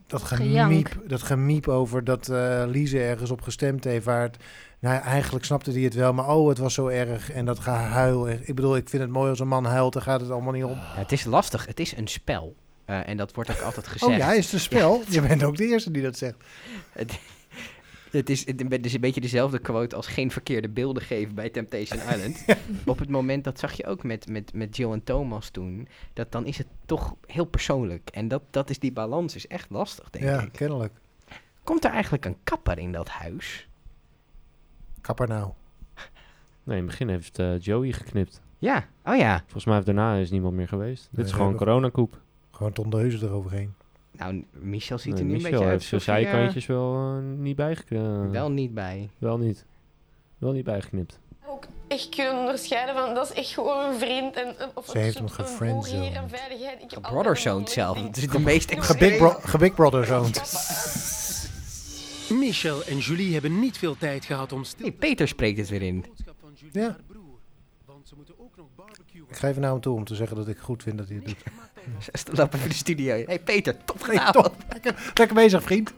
Dat Gejank. gemiep, dat gemiep over dat eh Lize ergens op gestemd heeft. Waar het, nou, ja, eigenlijk snapte hij het wel, maar oh, het was zo erg. En dat gehuil. Ik bedoel, ik vind het mooi als een man huilt, dan gaat het allemaal niet om. Ja, het is lastig. Het is een spel. Eh, en dat wordt ook altijd gezegd. Oh ja, is het een spel? Je bent ook de eerste die dat zegt. Het is, het is een beetje dezelfde quote als geen verkeerde beelden geven bij Temptation Island. Op het moment, dat zag je ook met, met, met Jill en Thomas toen, dat dan is het toch heel persoonlijk. En dat, dat is die balans, is echt lastig, denk Ja, ik. kennelijk. Komt er eigenlijk een kapper in dat huis? Kapper nou. Nee, in het begin heeft eh, Joey geknipt. Ja, oh ja. Volgens mij heeft daarna is niemand meer geweest. Dit Nee, is we gewoon een hebben- coronakoep. Gewoon tondeuzen eroverheen. Nou, Michel ziet Nee, er nu Michel een beetje uit. heeft alsof zijn hij, eh, zijkantjes wel eh, niet eh. bijgeknipt. Wel niet bij. wel niet. Wel niet bijgeknipt. ook echt kunnen onderscheiden van dat is echt gewoon een vriend en een- of Ze een heeft soort- hem een gefriendzoned. broer hier en veiligheid. Ik heb altijd Brotherzoon een zelf. ding. Het is de meest Gebig, extreme. bro gebig Brother zoont. Michel en Julie hebben niet veel tijd gehad om stil Hey, Peter spreekt het weer in. boodschap van Julie Ja. haar broer. Want ze moeten ook nog barbecuen. Ik ga even naar hem toe om te zeggen dat ik goed vind dat hij het doet. Ze lopen in de studio. Hey Peter, top gedaan. Lekker, lekker bezig, vriend.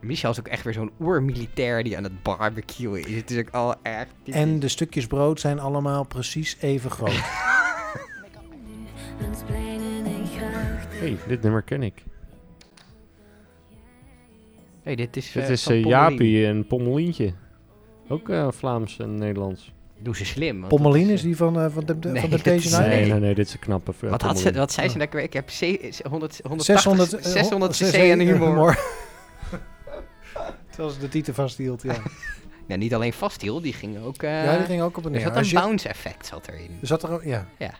Michel is ook echt weer zo'n oermilitair die aan het barbecuen is. Het is ook al echt... dit En de stukjes brood zijn allemaal precies even groot. hey, dit nummer ken ik. Eh, Hey, dit is, Dit eh, is van eh, Pommelien. Jaapie en Pommelientje. Ook eh, Vlaams en Nederlands. Doe ze slim. want Pommelien Oh, dat is die van, eh van, de, Nee, van dat Temptation is- Island? Nee, nee. nee, nee, dit is een knappe eh, vrouw. Wat, had ze, wat zei ze nou? ook weer? Ik heb ze- 100, 180, 600 eh, cc CC en humor. Terwijl ze de titel vasthield, ja. Nou, niet alleen vasthield, die ging ook... eh, ja, die ging ook op er en neer. zat Als een je- bounce effect zat erin. er zat er een- ja. Nou,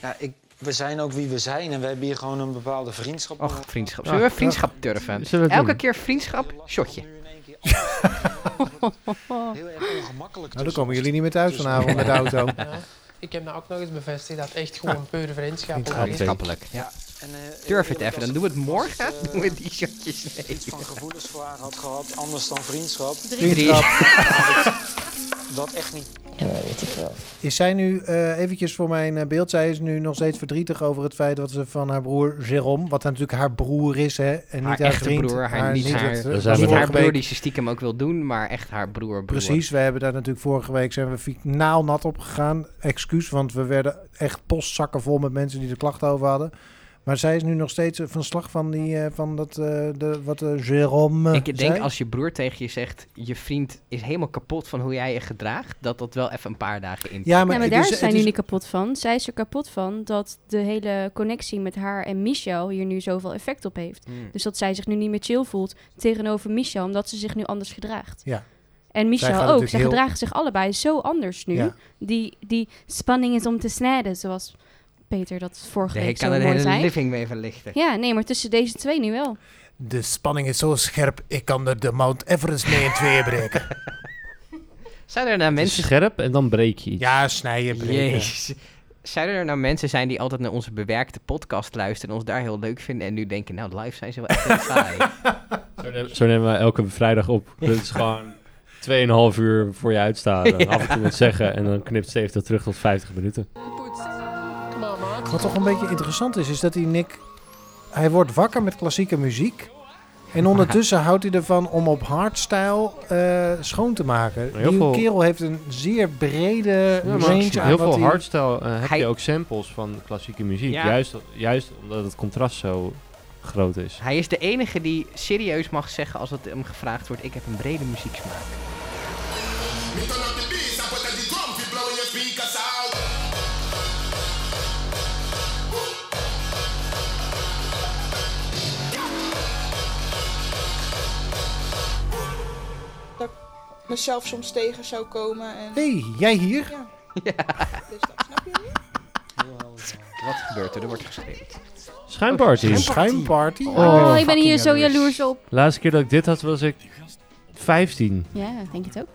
Ja, ik, we zijn ook wie we zijn en we hebben hier gewoon een bepaalde vriendschap. Och, vriendschap. Zullen we vriendschap durven? Zullen we het Elke doen? keer vriendschap, shotje. Heel erg ongemakkelijk. Nou, dan tussen komen ons. jullie niet meer thuis Dus- vanavond met de auto. Ik heb nou ook nog eens bevestigd dat echt gewoon pure vriendschap Vriendschap. ook is. Vriendschappelijk. Ja. Ja. En, eh, Durf het eerlijk even, dan als doen we het ik morgen. vast, eh, Doen we die shotjes mee. iets van gevoelens voor haar had gehad, anders dan vriendschap. Drie. Dat echt niet. Ja, dat weet ik wel. Is zij nu, eh, eventjes voor mijn eh, beeld, zij is nu nog steeds verdrietig over het feit dat ze van haar broer Jérôme, wat natuurlijk haar broer is, hè, en niet Haar haar, echte vriend, broer, haar niet haar- echte- Dat zijn we Niet haar vorige broer week- die ze stiekem ook wil doen, maar echt haar broer. broer. Precies, we hebben daar natuurlijk vorige week zijn we finaal nat op gegaan. Excuus, want we werden echt postzakken vol met mensen die er klachten over hadden. Maar zij is nu nog steeds eh, van slag van, die, eh, van dat, eh, de, wat eh Jérôme eh, Ik denk zei. als je broer tegen je zegt, je vriend is helemaal kapot van hoe jij je gedraagt, dat dat wel even een paar dagen in. Ja, Maar, maar, maar het daar is- het zijn is- jullie kapot van. Zij is er kapot van dat de hele connectie met haar en Michel hier nu zoveel effect op heeft. Hmm. Dus dat zij zich nu niet meer chill voelt tegenover Michel, omdat ze zich nu anders gedraagt. Ja. En gaat Michel ook. natuurlijk Zij dus heel- gedragen zich allebei zo anders nu. Ja. Die, die spanning is om te snijden, zoals Peter dat vorige Nee, ik week kan zo er de mooi hele zei. living mee verlichten. Ja, nee, maar tussen deze twee nu wel. De spanning is zo scherp, ik kan er de Mount Everest mee in tweeën breken. Zijn er nou Het is mensen... scherp en dan breek je iets. ja, snijden, breken. Jezus. Zijn er nou mensen zijn die altijd naar onze bewerkte podcast luisteren en ons daar heel leuk vinden en nu denken, nou live zijn ze wel echt heel saai. Zo, nemen, zo nemen we elke vrijdag op. Dat is gewoon 2,5 uur voor je uitstaan. En Af en toe wat zeggen en dan knipt Steve dat terug tot 50 minuten. Mama. Wat toch een beetje interessant is, is dat die Nick... Hij wordt wakker met klassieke muziek. En ondertussen houdt hij ervan om op hardstyle eh, schoon te maken. Heel die veel- kerel heeft een zeer brede range aan heel wat veel hij- hardstyle eh, heb Hij- je ook samples van klassieke muziek. Ja. Juist, juist omdat het contrast zo groot is. Hij is de enige die serieus mag zeggen als het hem gevraagd wordt, ik heb een brede muzieksmaak. mezelf soms tegen zou komen. En... hey, jij hier? Dus dat snap je niet. Wat gebeurt er? Er wordt geschreeuwd. Oh, Schijnparty. Een schuimparty? Oh, Oh, ik ben hier zo jaloers op. Laatste keer dat ik dit had was ik 15. Ja, denk je het ook?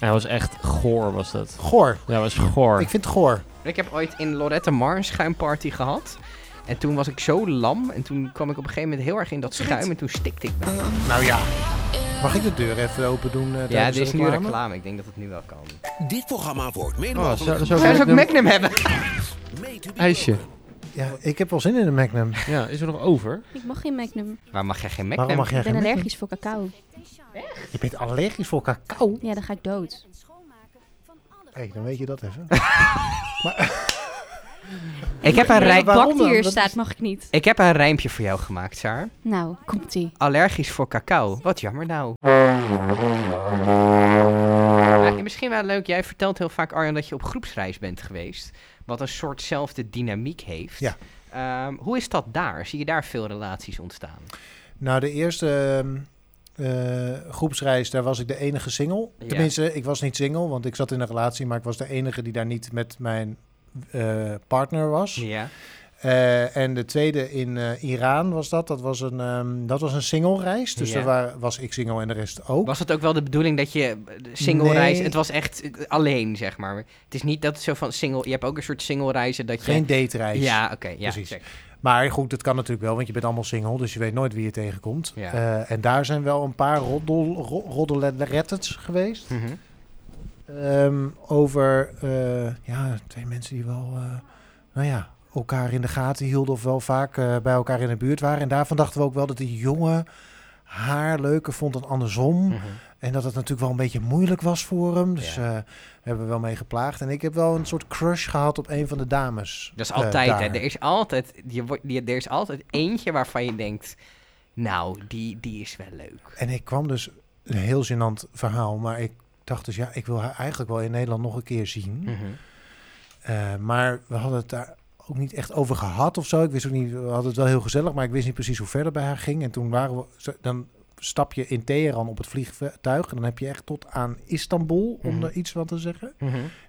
Hij was echt goor was dat. Goor. Ja, hij was goor. Ik vind het goor. Ik heb ooit in Lorette Mar een schuimparty gehad. En toen was ik zo lam. En toen kwam ik op een gegeven moment heel erg in dat schuim. En toen stikte ik bijna. Nou ja. Mag ik de deur even open doen? eh, Ja, tijdens dit de is nu reclame. Ik denk dat het nu wel kan. Dit programma wordt mede Oh, zo, zo Zou ze ook een Magnum hebben? ijsje. Ja, ik heb wel zin in een Magnum. Ja, is er nog over? Ik mag geen Magnum. Waar mag jij geen Magnum? Waarom mag jij Ik ben geen Magnum? allergisch voor cacao. Je bent allergisch voor cacao? Ja, dan ga ik dood. Hé, dan weet je dat even. Ik heb, een rij- rij... waarom Bak die dan? hier Dat staat, mag ik niet. ik heb een rijmpje voor jou gemaakt, Saar. Nou, komt-ie. Allergisch voor cacao. Wat jammer nou. Maar misschien wel leuk. Jij vertelt heel vaak, Arjan, dat je op groepsreis bent geweest. Wat een soortzelfde dynamiek heeft. Ja. Ehm, hoe is dat daar? Zie je daar veel relaties ontstaan? Nou, de eerste ehm, eh, groepsreis, daar was ik de enige single. Ja. Tenminste, ik was niet single, want ik zat in een relatie, maar ik was de enige die daar niet met mijn eh, partner was. Ja. Eh, en de tweede in eh, Iran was dat. Dat was een, ehm, dat was een single reis. Dus Ja. daar wa- was ik single en de rest ook. Was het ook wel de bedoeling dat je eh, de single reis... Nee. Het was echt eh, alleen, zeg maar. Het is niet dat het zo van single... Je hebt ook een soort single reizen dat je... Geen date reis. Ja, oké. ja, Precies. check. Maar goed, dat kan natuurlijk wel, want je bent allemaal single, dus je weet nooit wie je tegenkomt. Ja. Eh, en daar zijn wel een paar roddel, ro- roddeletters geweest. Mhm. Ehm, over eh, ja, twee mensen die wel eh, nou ja, elkaar in de gaten hielden of wel vaak eh, bij elkaar in de buurt waren. En daarvan dachten we ook wel dat die jongen haar leuker vond dan andersom. Mhm. En dat het natuurlijk wel een beetje moeilijk was voor hem. Dus eh hebben we wel mee geplaagd. En ik heb wel een soort crush gehad op een van de dames. Dat is eh, altijd, hè. daar. Er is altijd, je wordt, je, er is altijd eentje waarvan je denkt... Nou, die, die is wel leuk. En ik kwam dus een heel gênant verhaal, maar ik dacht dus ja, ik wil haar eigenlijk wel in Nederland nog een keer zien. Mhm. Eh, maar we hadden het daar ook niet echt over gehad of zo. Ik wist ook niet, we hadden het wel heel gezellig, maar ik wist niet precies hoe verder bij haar ging. En toen waren we, zo- dan stap je in Teheran op het vliegtuig. En dan heb je echt tot aan Istanbul, om Mhm. er iets van te zeggen.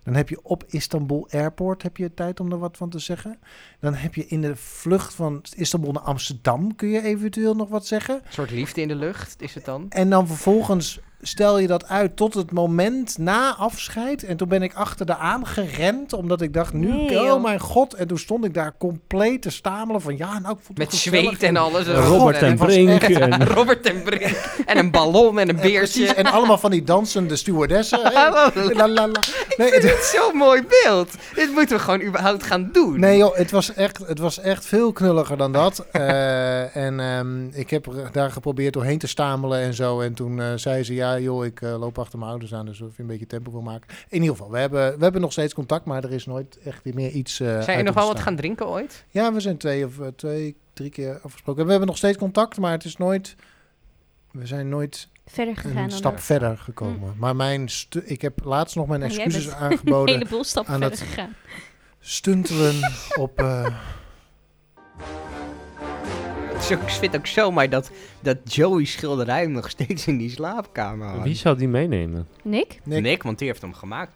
Dan heb je op Istanbul Airport heb je tijd om er wat van te zeggen. Dan heb je in de vlucht van Istanbul naar Amsterdam kun je eventueel nog wat zeggen. Een soort liefde in de lucht is het dan? En dan vervolgens stel je dat uit tot het moment na afscheid. En toen ben ik achter de aan gerend, omdat ik dacht, nu, Nee, oh joh. mijn god. En toen stond ik daar compleet te stamelen van, ja, nou, ik vond het Met gezellig. zweet en alles. Robert en Brink en- Robert en Brink. En een ballon en een beertje. Oh, Precies, en allemaal van die dansende stewardessen. Hey, Hallo. la, la, la. Nee, Ik het- vind het zo'n mooi beeld. Dit moeten we gewoon überhaupt gaan doen. Nee joh, het was echt, het was echt veel knulliger dan dat. Eh, en ehm, ik heb er daar geprobeerd doorheen te stamelen en zo. En toen eh, zei ze, ja joh, ik eh, loop achter mijn ouders aan, dus of je een beetje tempo wil maken. In ieder geval, we hebben, we hebben nog steeds contact, maar er is nooit echt meer iets eh, Zijn uit er nog wel wat ontstaan. gaan drinken ooit? Ja, we zijn twee of eh, twee, drie keer afgesproken. En we hebben nog steeds contact, maar het is nooit... We zijn nooit Verder gegaan een dan stap dat. verder gekomen. Maar mijn stu- ik heb laatst nog mijn Maar Oh, jij excuses bent aangeboden. Een heleboel stappen aan verder dat gegaan. stuntelen op... eh, Zo, ik zit ook zomaar dat, dat Joey's schilderij nog steeds in die slaapkamer hangt. Wie zou die meenemen? Nick? Nick. want die heeft hem gemaakt.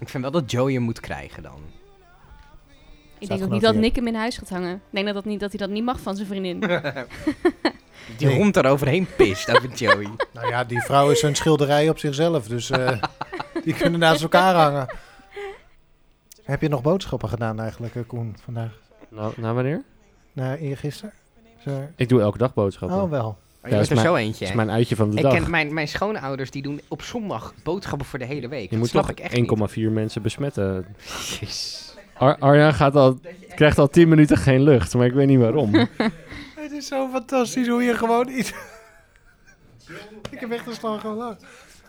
Ik vind wel dat Joey hem moet krijgen dan. Ik denk ook genoteerd. niet dat Nick hem in huis gaat hangen. Ik denk dat, dat, niet, dat hij dat niet mag van zijn vriendin. Die Nee. hond eroverheen pist over Joey. Nou ja, die vrouw is een schilderij op zichzelf, dus eh, die kunnen naast elkaar hangen. Heb je nog boodschappen gedaan eigenlijk, eh, Koen, vandaag? Nou, nou wanneer? Na eergisteren? Zo- Ik doe elke dag boodschappen. Oh, wel. Oh, je Ja, bent is er mijn- zo eentje. is hè? mijn uitje van de ik dag. Ken, mijn, mijn schoonouders die doen op zondag boodschappen voor de hele week. Je dat moet snap toch ik echt niet. 1,4 mensen besmetten. Ar Arjan gaat al, krijgt al 10 minuten geen lucht, maar ik weet niet waarom. Het is zo fantastisch hoe je gewoon iets... ik heb echt een slag gelachen.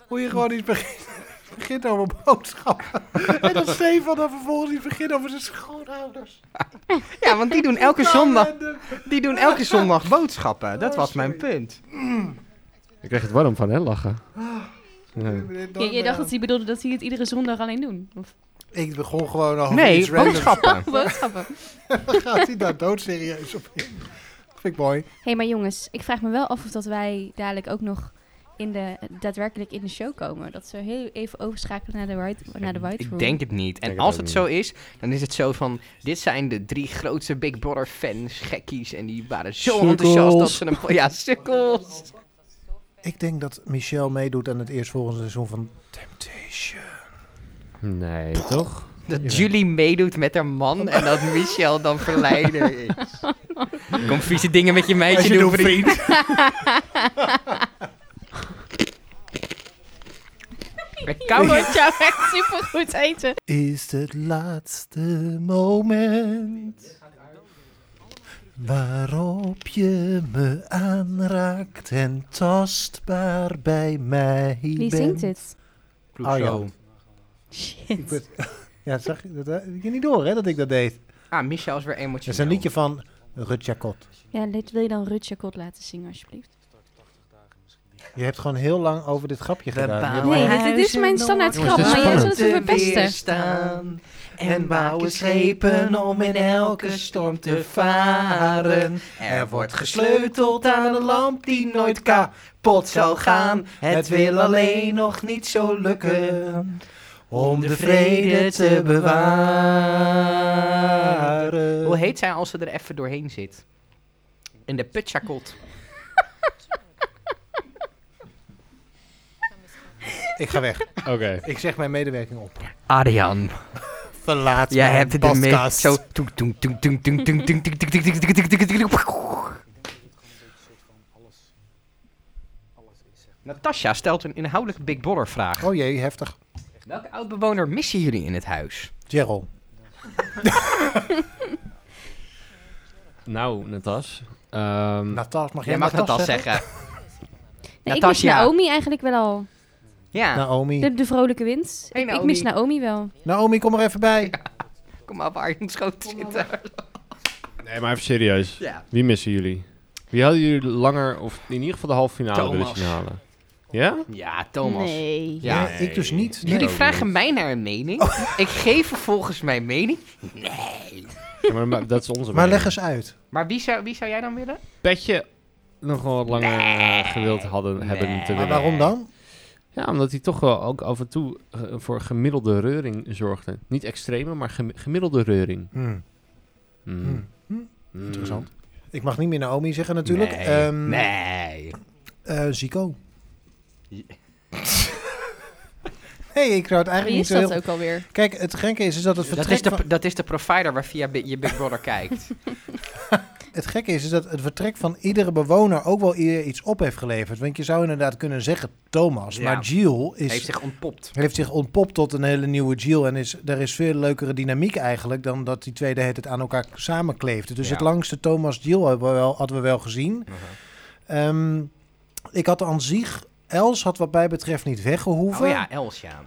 Hoe je gewoon iets begint, begint over boodschappen. en dat Stefan dan vervolgens iets begint over zijn schoonouders. Ja, want die doen elke zondag, die doen elke zondag boodschappen. Dat Oh, was mijn punt. Ik krijg het warm van, hè, lachen. Ja. Oh. je, je dacht dat hij bedoelde dat hij het iedere zondag alleen doen? Of Ik begon gewoon al Nee, iets randoms. boodschappen. boodschappen? Dan gaat hij daar doodserieus op in. Vind ik mooi. Hé, hey, maar jongens, ik vraag me wel af of dat wij dadelijk ook nog in de, daadwerkelijk in de show komen. Dat ze heel even overschakelen naar de white, naar de white Ik Room. denk het niet. En denk het als ook het niet. zo is, dan is het zo van... Dit zijn de drie grootste Big Brother fans, gekkies. En die waren zo Sukkels. enthousiast dat ze hem... Ja, sukkels. Ik denk dat Michelle meedoet aan het eerstvolgende seizoen van Temptation. Nee, toch? Dat Julie meedoet met haar man en dat Michel dan verleider is. Kom vieze dingen met je meisje Als je doen, doet, vriend. Met Je koude... wordt jou echt supergoed eten. Is het laatste moment waarop je me aanraakt en tastbaar bij mij Wie bent. zingt dit? Arjan. Ik Shit. ben- Ja, zag je dat? Dat had je niet door, hè, dat ik dat deed. Ah, Michel is weer Dat is emotioneel. een liedje van Rutjakot. Ja, dit wil je dan Rutje Kot laten zingen, alsjeblieft? Je hebt gewoon heel lang over dit grapje We gedaan. Je hebt bouwen al- Nee, dit- dit is mijn standaard Jongens, grap, dit is maar jij zult het spannend. weer verpesten. staan en bouwen schepen om in elke storm te varen. Er wordt gesleuteld aan een lamp die nooit kapot zal gaan. Het wil alleen nog niet zo lukken om de vrede te bewaren. Hoe heet zij als ze er even doorheen zit? In de putjakot. Ik ga weg. Oké. Ik zeg mijn medewerking op. Adrian, Verlaat jij mijn hebt het ermee. podcast. Zo. toeng, toeng, toeng, toeng, toeng, toeng, toeng, toeng, toeng, toeng, toeng, toeng, toeng, toeng, toeng. Natasja stelt een inhoudelijke Big Brother vraag. Oh jee, heftig. Welke oudbewoner missen jullie in het huis? Gerald. Nou, Natas. ehm, Natas, mag jij, Jij mag Natas Natas zeggen. Nee, ik mis Natasja. Naomi eigenlijk wel al. Ja, Naomi. De, de vrolijke wind. Hey, Ik- Ik mis Naomi. Naomi wel. Naomi, kom er even bij. kom maar waar je in schoot zitten. Nee, maar even serieus. Ja. Wie missen jullie? Wie hadden jullie langer, of in ieder geval de halve finale Thomas. willen zien halen? Ja? Ja, Thomas. Nee. Ja. Nee, ik dus niet. Nee. Jullie Ook vragen niet. mij naar een mening. Ik geef vervolgens mijn mening. Ja, maar, maar dat is onze Maar mening. leg eens uit. Maar wie zou, wie zou jij dan willen? Petje nog wel wat langer eh, gewild hadden, hebben te Maar winnen. waarom dan? Ja, omdat hij toch wel ook af en toe eh, voor gemiddelde reuring zorgde. Niet extreme, maar gemi- gemiddelde reuring. Hmm. Hmm. Hmm. Hmm. Interessant. Ik mag niet meer Naomi zeggen natuurlijk. Nee. Ehm, nee. eh, Zico. Je- Nee, ik zou het eigenlijk Wie niet is zo dat heel- ook alweer? Kijk, het gekke is, is dat het Dat vertrek is, van- de, dat is de provider waar via bi- je Big Brother kijkt. Het gekke is, is dat het vertrek van iedere bewoner ook wel ieder iets op heeft geleverd. Want je zou inderdaad kunnen zeggen Thomas, Ja. maar Jill is, Heeft zich ontpopt. heeft zich ontpopt tot een hele nieuwe Jill. En is, er is veel leukere dynamiek eigenlijk dan dat die twee de hele tijd aan elkaar samenkleefden. Dus Ja. het langste Thomas Jill hadden we wel, hadden we wel gezien. Ehm, ik had aan zich, Els had wat mij betreft niet weggehoeven. Oh ja, Els, ja.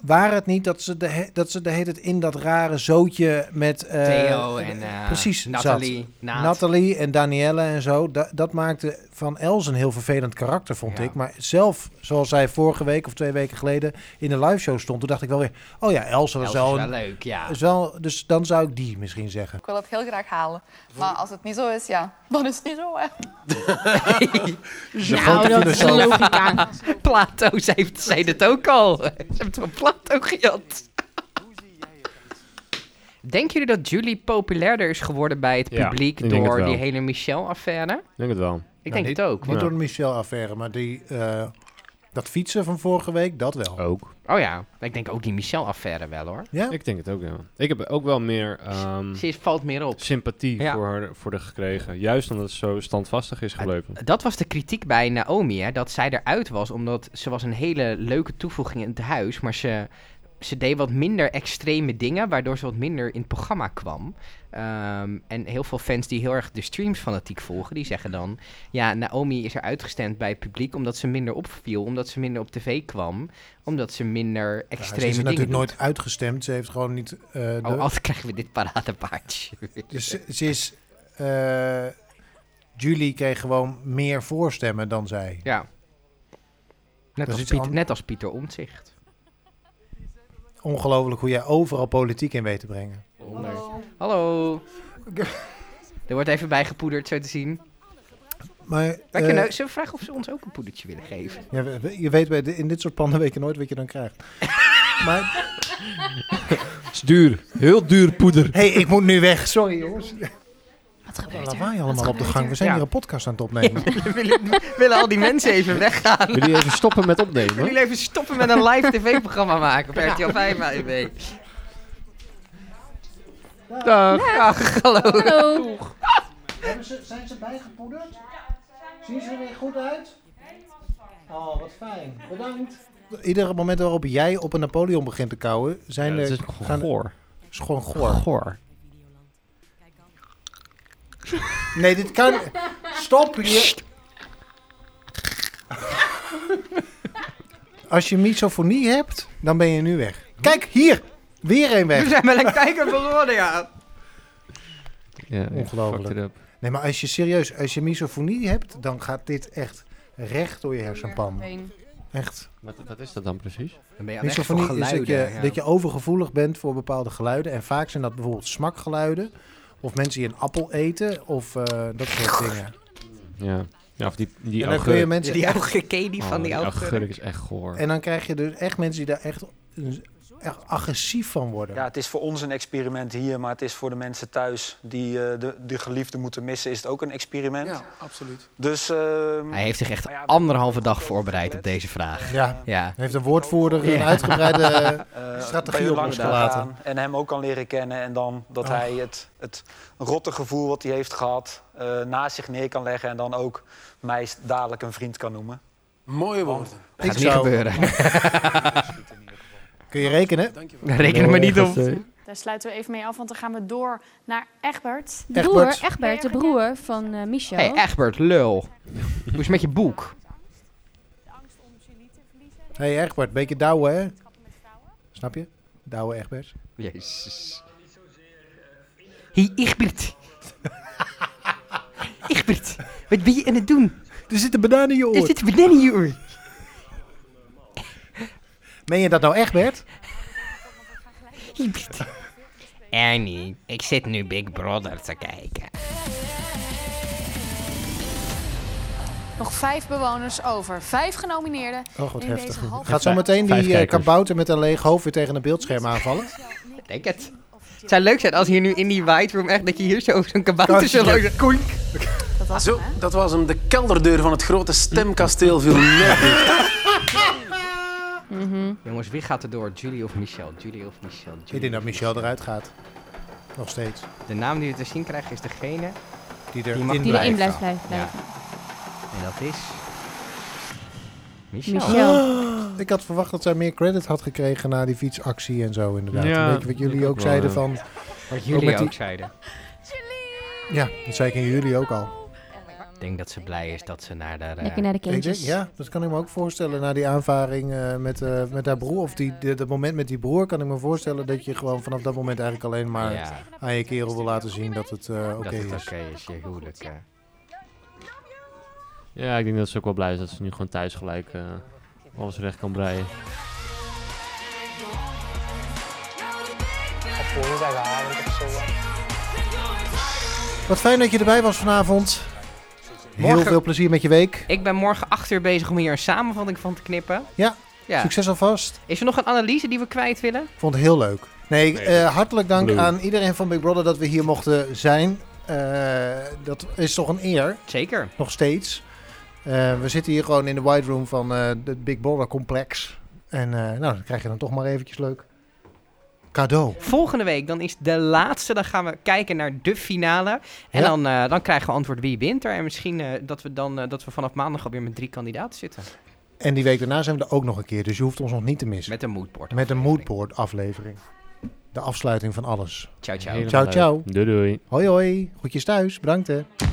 Waar het niet dat ze de, he- dat ze de hele tijd in dat rare zootje met... eh, Theo en eh, precies, zat. Nathalie. Naat. Nathalie en Danielle en zo, da- dat maakte van Els een heel vervelend karakter, vond ik. Maar zelf, zoals zij vorige week of twee weken geleden in de liveshow stond, toen dacht ik wel weer, oh ja, Els was Els wel, is wel een- leuk, ja. Is wel, dus dan zou ik die misschien zeggen. Ik wil dat heel graag halen. Maar als het niet zo is, ja, dan is het niet zo, hè. De grote filosoof. logica. Plato zei, zei dit ook al. Ze hebben het van Plato gejat. Denken jullie dat Julie populairder is geworden bij het Ja, publiek ik denk het door wel. die hele Michelle-affaire? Ik denk het wel. Ik denk niet, het ook. Niet want- door de Michelle-affaire, maar die, eh, dat fietsen van vorige week, dat wel. Ook. Oh ja, ik denk ook die Michelle-affaire wel hoor. Ja? Ik denk het ook, ja. Ik heb ook wel meer ehm, Ze is- valt meer op. sympathie Ja. voor, haar, voor haar gekregen. Juist omdat ze zo standvastig is gebleven. Dat was de kritiek bij Naomi, hè, dat zij eruit was, omdat ze was een hele leuke toevoeging in het huis, maar ze, ze deed wat minder extreme dingen, waardoor ze wat minder in het programma kwam. Ehm, en heel veel fans die heel erg de streams fanatiek volgen, die zeggen dan, ja, Naomi is eruit gestemd bij het publiek omdat ze minder opviel, omdat ze minder op tv kwam, omdat ze minder Ja, extreme ze is er dingen natuurlijk doet. nooit uitgestemd. Ze heeft gewoon niet... eh, de- Oh, altijd krijgen we dit paradepaardje. dus ze, ze is... eh, Julie kreeg gewoon meer voorstemmen dan zij. Ja. Net is als, iets Piet, an- net als Pieter Omtzigt. Ongelooflijk hoe jij overal politiek in weet te brengen. Hallo. Er wordt even bijgepoederd, zo te zien. Eh, Maar Wij eh, kunnen ze vragen of ze ons ook een poedertje willen geven. ja, we- we- je weet, bij de- in dit soort panden weet je nooit wat je dan krijgt. maar Het is duur. Heel duur poeder. hey, ik moet nu weg. Sorry jongens. Wat gebeurt er? Lawaai Wat allemaal op de gebeurt gang. We zijn Ja. hier een podcast aan het opnemen. willen, willen al die mensen even weggaan? Wil je even stoppen met Willen opnemen? jullie even stoppen met een live tv-programma maken op RTL 5 AIB? Dag. Ach, hallo. er? Hallo. zijn ze bijgepoederd? Zien ze er weer goed uit? Oh, wat fijn. Bedankt. Iedere moment waarop jij op een Napoleon begint te kauwen, zijn Ja, er... het is gaan- gewoon goor. is gewoon goor. Goor. Nee, dit kan. Stop hier. Als je misofonie hebt, dan ben je nu weg. Kijk, hier! Weer een We weg. zijn wel een kijker verloren, ja. Ja, ik Ongelooflijk. fucked it up. Nee, maar als je serieus, als je misofonie hebt, dan gaat dit echt recht door je hersenpan. Echt. Wat, wat is dat dan precies? Dan ben je aan voor Misofonie is dat je, geluiden. dat je overgevoelig bent voor bepaalde geluiden. En vaak zijn dat bijvoorbeeld smakgeluiden. Of mensen die een appel eten. Of eh, dat soort dingen. Ja. ja of die, die en dan kun je augurk. mensen Die oude die Oh, van die die oude augurk is echt goor. En dan krijg je dus echt mensen die daar echt, echt agressief van worden. Ja, het is voor ons een experiment hier, maar het is voor de mensen thuis die eh, de, de geliefde moeten missen, is het ook een experiment. Ja, absoluut. Dus ehm, Hij heeft zich echt anderhalve dag voorbereid op deze vraag. Ja. Ja. Heeft een woordvoerder een Ja. uitgebreide eh, eh, bij u strategie op ons langs kan gelaten. gaan En hem ook kan leren kennen. En dan dat Oh. hij het, het rotte gevoel wat hij heeft gehad eh, naast zich neer kan leggen. En dan ook mij s- dadelijk een vriend kan noemen. Mooie woorden. Gaat Ik niet zou- gebeuren. Kun je rekenen? Reken er maar niet op. Daar sluiten we even mee af, want dan gaan we door naar Egbert. Broer, Egbert. Egbert, de broer van eh Michel. Hé, hey, Egbert, lul. Hoe is het met je boek? Hé hey Egbert, beetje douwen hè? Snap je? Douwen Egbert. Jezus. Hé, hey, Egbert. Egbert, wat ben je aan het doen? Er zit een banaan in je Er zit een banaan in je oor. Meen je dat nou Egbert? Egbert. Annie, ik zit nu Big Brother te kijken. nog vijf bewoners over. Vijf genomineerden Oh, wat in heftig. deze halve... Gaat zo meteen Vijf die eh, kijkers. kabouter met een leeg hoofd weer tegen een beeldscherm aanvallen? Ik denk het. Het zou leuk zijn als hier nu in die white room echt dat je hier zo over zo'n kabouter zou lopen. Koink. Zo, dat was hem. De kelderdeur van het grote stemkasteel viel net dicht. Mhm. Jongens, wie gaat er door? Julie of Michel? Julie of Michel? Julie Ik denk dat Michel eruit gaat. Nog steeds. De naam die we te zien krijgen is degene die er mag- in Die erin blijft blijven. Ja. blijven. En dat is. Michel. Ah, ik had verwacht dat zij meer credit had gekregen na die fietsactie en zo inderdaad. Ja, een beetje wat jullie ik ook, ook wel, zeiden ja. van... Wat met jullie die- ook zeiden. Ja, dat zei ik in jullie ook al. Ik denk dat ze blij is dat ze naar de. eh, Lekker naar de Ik denk, kindjes. ja, dat kan ik me ook voorstellen. Na die aanvaring eh, met, eh, met haar broer, of die, de- dat moment met die broer, kan ik me voorstellen dat je gewoon vanaf dat moment eigenlijk alleen maar Ja. aan je kerel wil laten zien dat het eh, oké dat het oké is. is, je huwelijk. eh. Ja, ik denk dat ze ook wel blij is dat ze nu gewoon thuis gelijk eh, alles recht kan breien. Woensdagavond of zo. Wat fijn dat je erbij was vanavond. Heel Morgen- veel plezier met je week. Ik ben morgen acht uur bezig om hier een samenvatting van te knippen. Ja, Ja. succes alvast. Is er nog een analyse die we kwijt willen? Vond het heel leuk. Nee, eh, hartelijk dank Blue. aan iedereen van Big Brother dat we hier mochten zijn. Eh, dat is toch een eer. Zeker. Nog steeds. Eh, we zitten hier gewoon in de wide room van eh, het Big Brother complex. En eh, nou, dat krijg je dan toch maar eventjes leuk. Cadeau. Volgende week, dan is de laatste. Dan gaan we kijken naar de finale. En Ja. dan, eh, dan krijgen we antwoord wie wint er. En misschien eh, dat we dan eh, dat we vanaf maandag alweer met drie kandidaten zitten. En die week daarna zijn we er ook nog een keer. Dus je hoeft ons nog niet te missen. Met een moodboard. Met een moodboard aflevering. De afsluiting van alles. Ciao, ciao. Ciao, ciao. Doei doei. Hoi, hoi. Groetjes thuis. Bedankt hè.